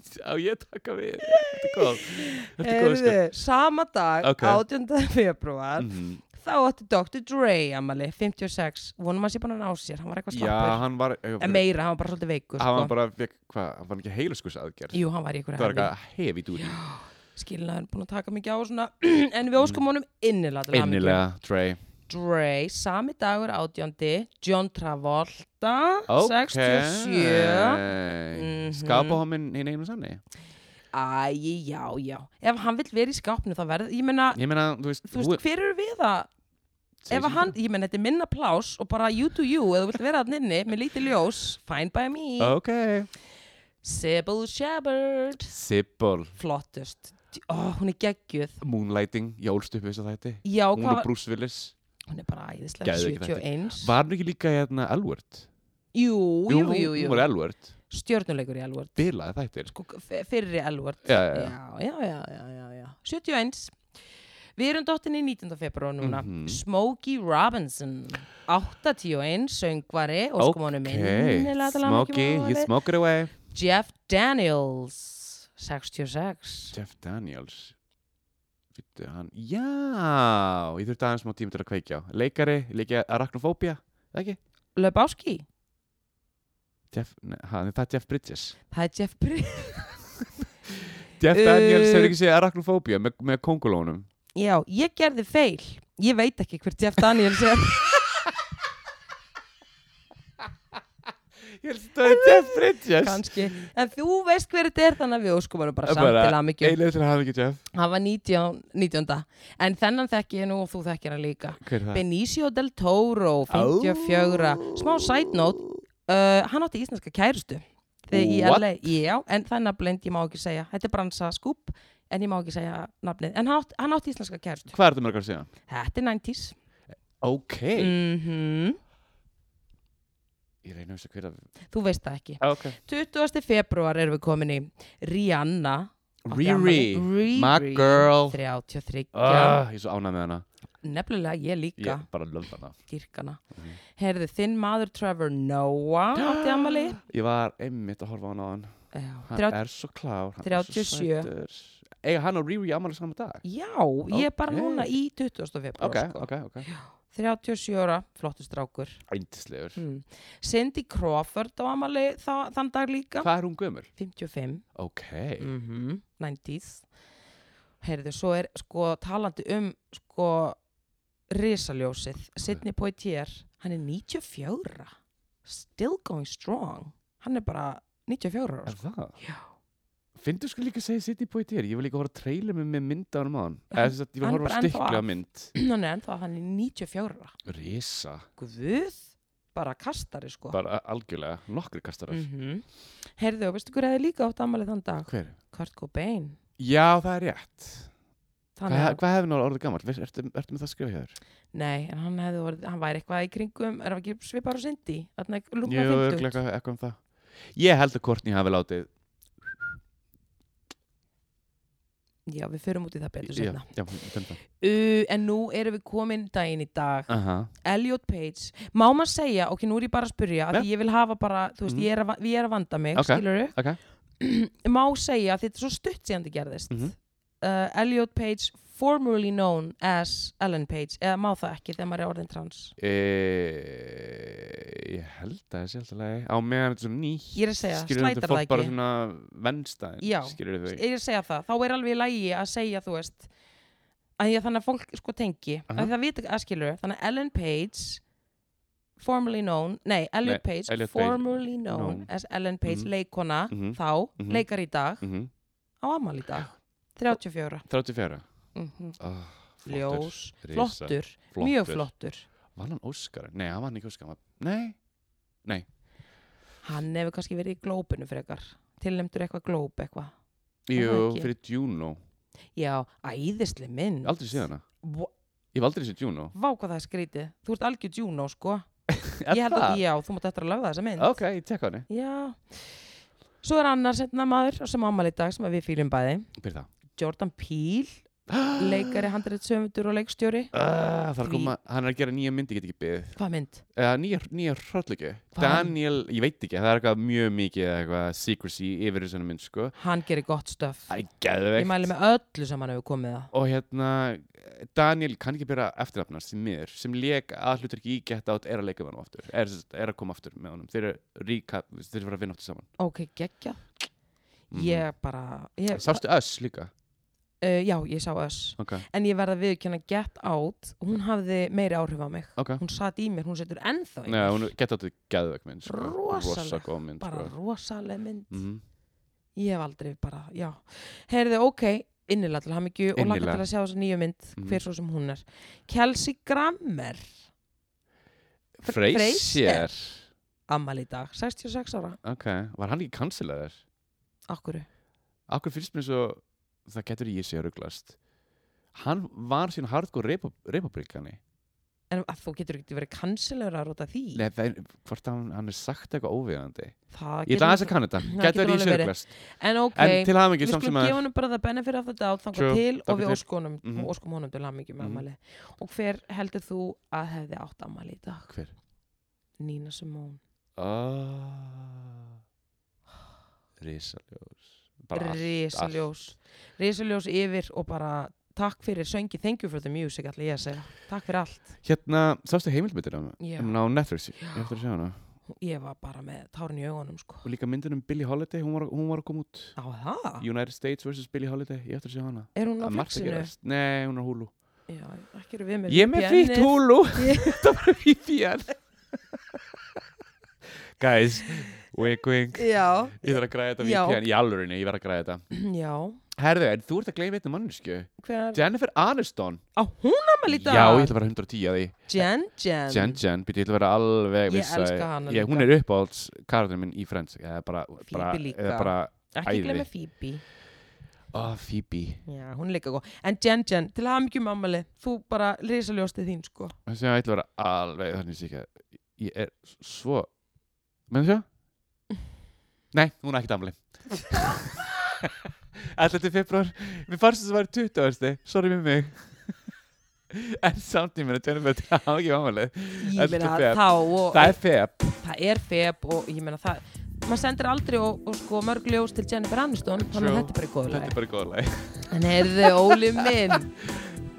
Jóko
Á, ég takka við. Þetta er góð. Þetta er góð sko.
Heyrðu, sama dag,
Ok. Mm.
18. februar
skil.
þá átti Dr. Dre amali, 56, vonum að sé bara hann á sér hann var eitthvað
Já,
slappur,
hann var...
en meira, hann var bara svolítið veikur
hann var
sko.
bara, fekk- hvað, hann var ekki heilaskus aðgerð
Jú, hann var í einhverju
það var
hefði
eitthvað hefi dúri
skilnaður, búin að taka mikið á og svona en við óskum honum innilega til hamingju.
Mm. innilega, Dre
Dre, sami dagur 18. John Travolta
Ok.
67 Mhm.
skápahóminn hinn einu sannig
Æ, já, já ef hann vill vera í skápnu þá verður ég meina,
ég meina, þú veist,
Ah. þú veist, hver eru við að
segir
ef að
sem
hann, ég menn, þetta er minna plás og bara you do you, eða þú vilt vera þann inni með lítið ljós, fine by me
það. ok,
Sybil Shepard
Sibbol
flottust, oh, hún er geggjuð
Moonlighting, ég ólst upp við þess að þetta
já,
hún
hvað
og
var,
Bruce Willis
hún er bara æðislega
Geðveik
71
var hann ekki líka hérna Elward?
jú, jú,
hún-
jú,
hún var
jú
Elward,
stjörnuleikur í Elward
bilaði þættir
sko, f- fyrri Elward
já,
já,
já, já,
já, já, já, já, já 71 Við erum dottinni 19. februar núna
Mhm.
Smokey Robinson 81, söngvari og sko manum minnilega til hamingju
Smokey,
með
you
afmælið.
smoke it away
Jeff Daniels 66
Jeff Daniels Vittu hann Já, ég þurfti aðeins smá tíma til að kveikja á Leikari, líka arachnofóbia Það ekki?
Lebowski
Jeff, ne, hann, það er Jeff Bridges
það er Jeff Bridges
Jeff
Uh,
Daniels hefur ekki séð arachnofóbía með, með kongulónum
já, ég gerði feil ég veit ekki hver Jeff Daniels er
Ég held að það er Jeff Bridges
kannski, en þú veist hver þetta er þannig að við óskum hann bara samt
Bara
til að mikið
Eilir til að hafa ekki Jeff
hann var 19, 19. en þennan þekki ég nú og þú þekkir hann líka
Hver er það?
Benicio del Toro 54, smá side note uh, hann átti íslenska kærustu þegar í
What?
LA, já, en það er nafnleind ég má ekki segja, þetta er bransa skúp en ég má ekki segja nafnið, en hann átti, hann átti íslenska kærustu,
Hvað er það mörgar síðan?
þetta er 90s
Ok
mm
Ég reyna að veist hver að
þú veist það ekki
Ah, Ok
20. februar erum við komin í Rihanna átti afmæli.
Riri
Riri
my girl.
33,
Ah, Ég er svo ánægð með hana
nefnilega ég líka
Ég bara löf hana
dýrkana
Mhm.
heyrðu þinn maður Trevor Noah átti afmæli
Ég var einmitt að horfa á hana á hann
Já,
Hann
30,
er svo klár hann er svo
37.
sætur. Eiga hann og Riri ámæli saman dag?
já, ég er bara
Ok.
núna í 20. februar
Ok,
sko.
ok, ok
37 ára, flottur strákur
Ændislegur
hmm. Cindy Crawford á amali þa þann dag líka
Hvað er hún gömur?
55
Ok
mm
Mhm.
90s heyrðu, svo er sko talandi um sko risaljósið, Sidney Poitier hann er 94 still going strong hann er bara 94 ára,
Er
sko.
það?
já
Fyndu sko líka að segja City Boy Deer, ég var líka að horfa að treyla mig með mynd á hann maður. Eða
Hann-
þess að ég var
hann
að horfa
bara
að
ennþá
stikla
af.
mynd.
sko. hann er ennþá, hann er 94
Risa,
guð, bara kastari sko
bara algjörlega, nokkri kastarar.
mm heyrðu, og veistu hver hefði líka átt amalið þann dag
Hver?
Kurt Cobain
Já, það er rétt.
Þannig
Hvað
að-
hva hefði náður orðið gammal? Ertu, ertu með það að skrifa hjá þér?
nei, en hann hefði orðið, hann væri eitthvað í kringum er það ekki svipar og syndi þannig að
Jú,
lúkna 50
örugglega eitthvað eitthvað um það. Ég held að Courtney hafi látið.
já, við förum út í það betur
já,
setna
já, um það.
uh, en nú erum við komin daginn í dag
Aha.
Elliot Page, má maður segja ok, nú er ég bara að spyrja, af
Ja.
því ég vil hafa bara þú veist,
Mhm.
ég er að, va- ég er að vanda mig,
Ok,
skilurðu
ok.
má segja, af því þetta er svo stutt síðan þetta gerðist
Mhm.
uh, Elliot Page formerly known as Ellen Page eða má það ekki þegar maður er orðin trans
E, ég held að það sé alltaf lagi. Á meðan þetta er svona nýtt.
Ég er að segja,
skilurðu, þetta
slætar
er fólk
það
bara
ekki.
svona vennstæðin,
Já.
skilur þau.
ég er að segja það, þá er alveg í lægi að segja þú veist að ég, þannig að fólk sko tengi uh
Aha.
-huh. það vita að skilur, þannig að Ellen Page formerly known, nei Elliot
Nei,
Page,
Elliot Page,
formerly known
known.
as Ellen Page,
Mhm.
leikona
Mhm.
þá,
Mhm.
leikar í dag
Mm
á amal í dag, 34
34.
mm
Oh,
ljós,
Risa.
flottur, mjög flottur
Var hann Óskar? Nei, hann var hann ekki Óskar. Var... Nei,
hann hefur kannski verið í glópinu frekar tilnæmdur eitthvað glóp eitthvað það
jú,
ekki?
fyrir Juno.
já, æðisli minn
Aldrei séð hana.
Vá-
Ég hef aldrei séð Juno.
vá hvað það er skrítið, þú ert algjör Juno sko
Er
ég held að,
það?
já, þú mátt eftir að löfa þessa mynd
Ok, ég tek á henni.
já svo er annar setna maður sem ámali í dag sem að við fýlum bæði
Byrð það.
Jordan Peele, leikari handreitsöfundur og leikstjóri
Uh, það
Því-
er að koma, hann er að gera nýja mynd, ég get ekki byggð.
hvað mynd?
Uh, nýja, nýja hrollíki.
Hvað?
Daniel, ég veit ekki, það er eitthvað mjög mikið eitthvað secrecy yfir þessari mynd, sko.
hann gerir gott stöf
Það er
ég
geðveikt.
mæli með öllu sem hann hefur komið það
Og hérna, Daniel kann ekki byrja eftirnafnar sem miður, sem leik að hlutur ekki í gett átt er að leika við hann aftur, er, sem sagt, er að koma aftur með honum. Þeir eru ríka, þeir eru að vinna aftur saman. Mm.
ok, geggja ég bara ég,
Mhm. Sástu öss líka?
uh, já, ég sá öss
Ok,
en ég verða viðkjöna Get Out hún hafði meiri áhrif á mig
ok.
hún satt í mér, hún setur ennþá í
Nei,
mér
hún gett áttu geðvögg mynd, sko.
Rosaleg.
Rosa góð mynd,
bara
sko.
rosaleg mynd
Mm
ég hef aldrei bara, já heyrðu, ok, innilega til hamingju og laka
Innilega.
til að sjá þessa nýju mynd,
Mhm.
hver svo sem hún er Kelsey Grammer Fr-
Freysier.
ammali í dag, 66 ára
Ok, var hann ekki kansilegar?
Akkuru,
Akkur finnst mér svo, það getur ég sé að rugglast. Hann var síðan hardcore republikani.
en að þú getur ekki verið kansilegur að rota því
Nei, það er, hvort hann, hann er sagt eitthvað óviðandi.
það getur
Ég ætla aðeins að
náttúrulega-
kanna þetta.
það
Getur
getur
ég sé
alveg
að
verið.
rugglast.
en ok,
En til hafa
við
ekki
skulum
samsum að...
gefa hennu bara það benefit af þetta át þangar
True,
til og við
þangað til.
óskunum,
Mhm.
óskum honum til hamingju með
Mhm.
ammali og hver heldur þú að hefði átt ammali í dag?
Hver?
Nina Simone
Ah. Risaljós. Bara allt, allt.
risaljós risaljós yfir og bara takk fyrir söngi, thank you for the music allir ég að segja, takk fyrir allt
Hérna, sástu heimildmyndir um
Já.
hún á Netflix, ég ég eftir að sjá hana
ég var bara með tárin í augunum sko.
og líka myndin um Billie Holiday, hún var, hún var að koma út
á það,
United States vs. Billie Holiday, ég ætti að sjá hana
er hún á
Það er margt að
flexinu
gerast. Nei, hún er húlu
já, ekki eru við með
Ég er með
VPN-ið.
frítt húlu
Ég-
Þetta var VPN Guys, wink wink
já,
Ég þarf að græða þetta
Já.
VPN Í alvörinni, ég verð að græða þetta
já,
Herðu, en þú ert að gleyma einnig mannsku
hver
Jennifer Aniston
á hún amal Mm. í dag
Já, ég ætla að vera 110 að því
Jen, Jen,
Jen Jen, býtti ég ætla að vera alveg
Ég
vissa
elska hana
ég, Hún
líka.
er uppáhalds karakterinn minn í Friends Eða bara, bara,
Phoebe líka.
eða bara
ekki
æði.
glemja Phoebe
oh, Phoebe
já, hún er líka góð, en Jen, Jen, til að hafa mikið mamali þú bara risaljóstið þín sko
Þessi að ætla að vera alveg Þannig sé ekki að ég er svo Menni sjá? Nei, hún er ekki damli 11. februar Mér fannst þess að það væri 20. Sorry með mig En samt ég meina Jennifer Það hafa ekki ámælið
ég
11.
meina
feb.
þá og
Það er feb
það er feb og ég meina það maður sendir aldrei og, og sko mörg ljós til Jennifer Aniston þannig að
True.
þetta er bara í góðu
Þetta
lagi
er bara góðlega
en heyrðu Óli minn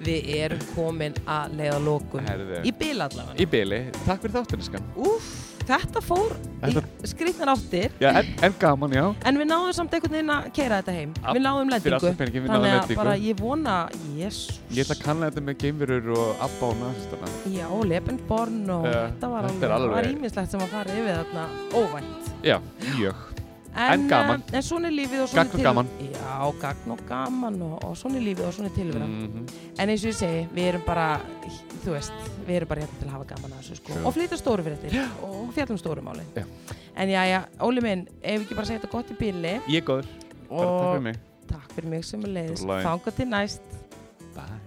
við erum komin að leiða lókum
Herðu.
í bil allavega
Í byli, takk fyrir þáttinu skan
Úf, þetta fór í skrýtnar áttir
Já, en, en gaman, já
en við náðum samt einhvern veginn að keira þetta heim
Af-
við náðum
fyrir
lendingu
allan peninginn, við náðum
þannig að
lendingu.
bara ég vona Jesus,
Ég ætla að kanna þetta með geimverur og abba og nasistana
já, Lebensborn og
Já,
þetta var
þetta er
alveg, alveg. var
alveg-
ímislegt sem að fara yfir þarna óvænt
Já, mjög
eh,
En gaman.
En svona er lífið og svona
Gagn og gaman.
Já, gagn og gaman og, og svona er lífið og svona er tilveran
Mhm.
En eins og ég segi, við erum bara, þú veist, við erum bara hérna til að hafa gaman að þessu sko
Sure.
Og flytja stóru fyrir þetta og fjallum stóru máli
Já.
En já, já, Óli minn, ef ekki bara segja þetta gott í bíli
Ég er góður, bara takk
Og
fyrir mig
takk fyrir mig sem er leiðis
Allt í lagi.
Þangað til næst
Bye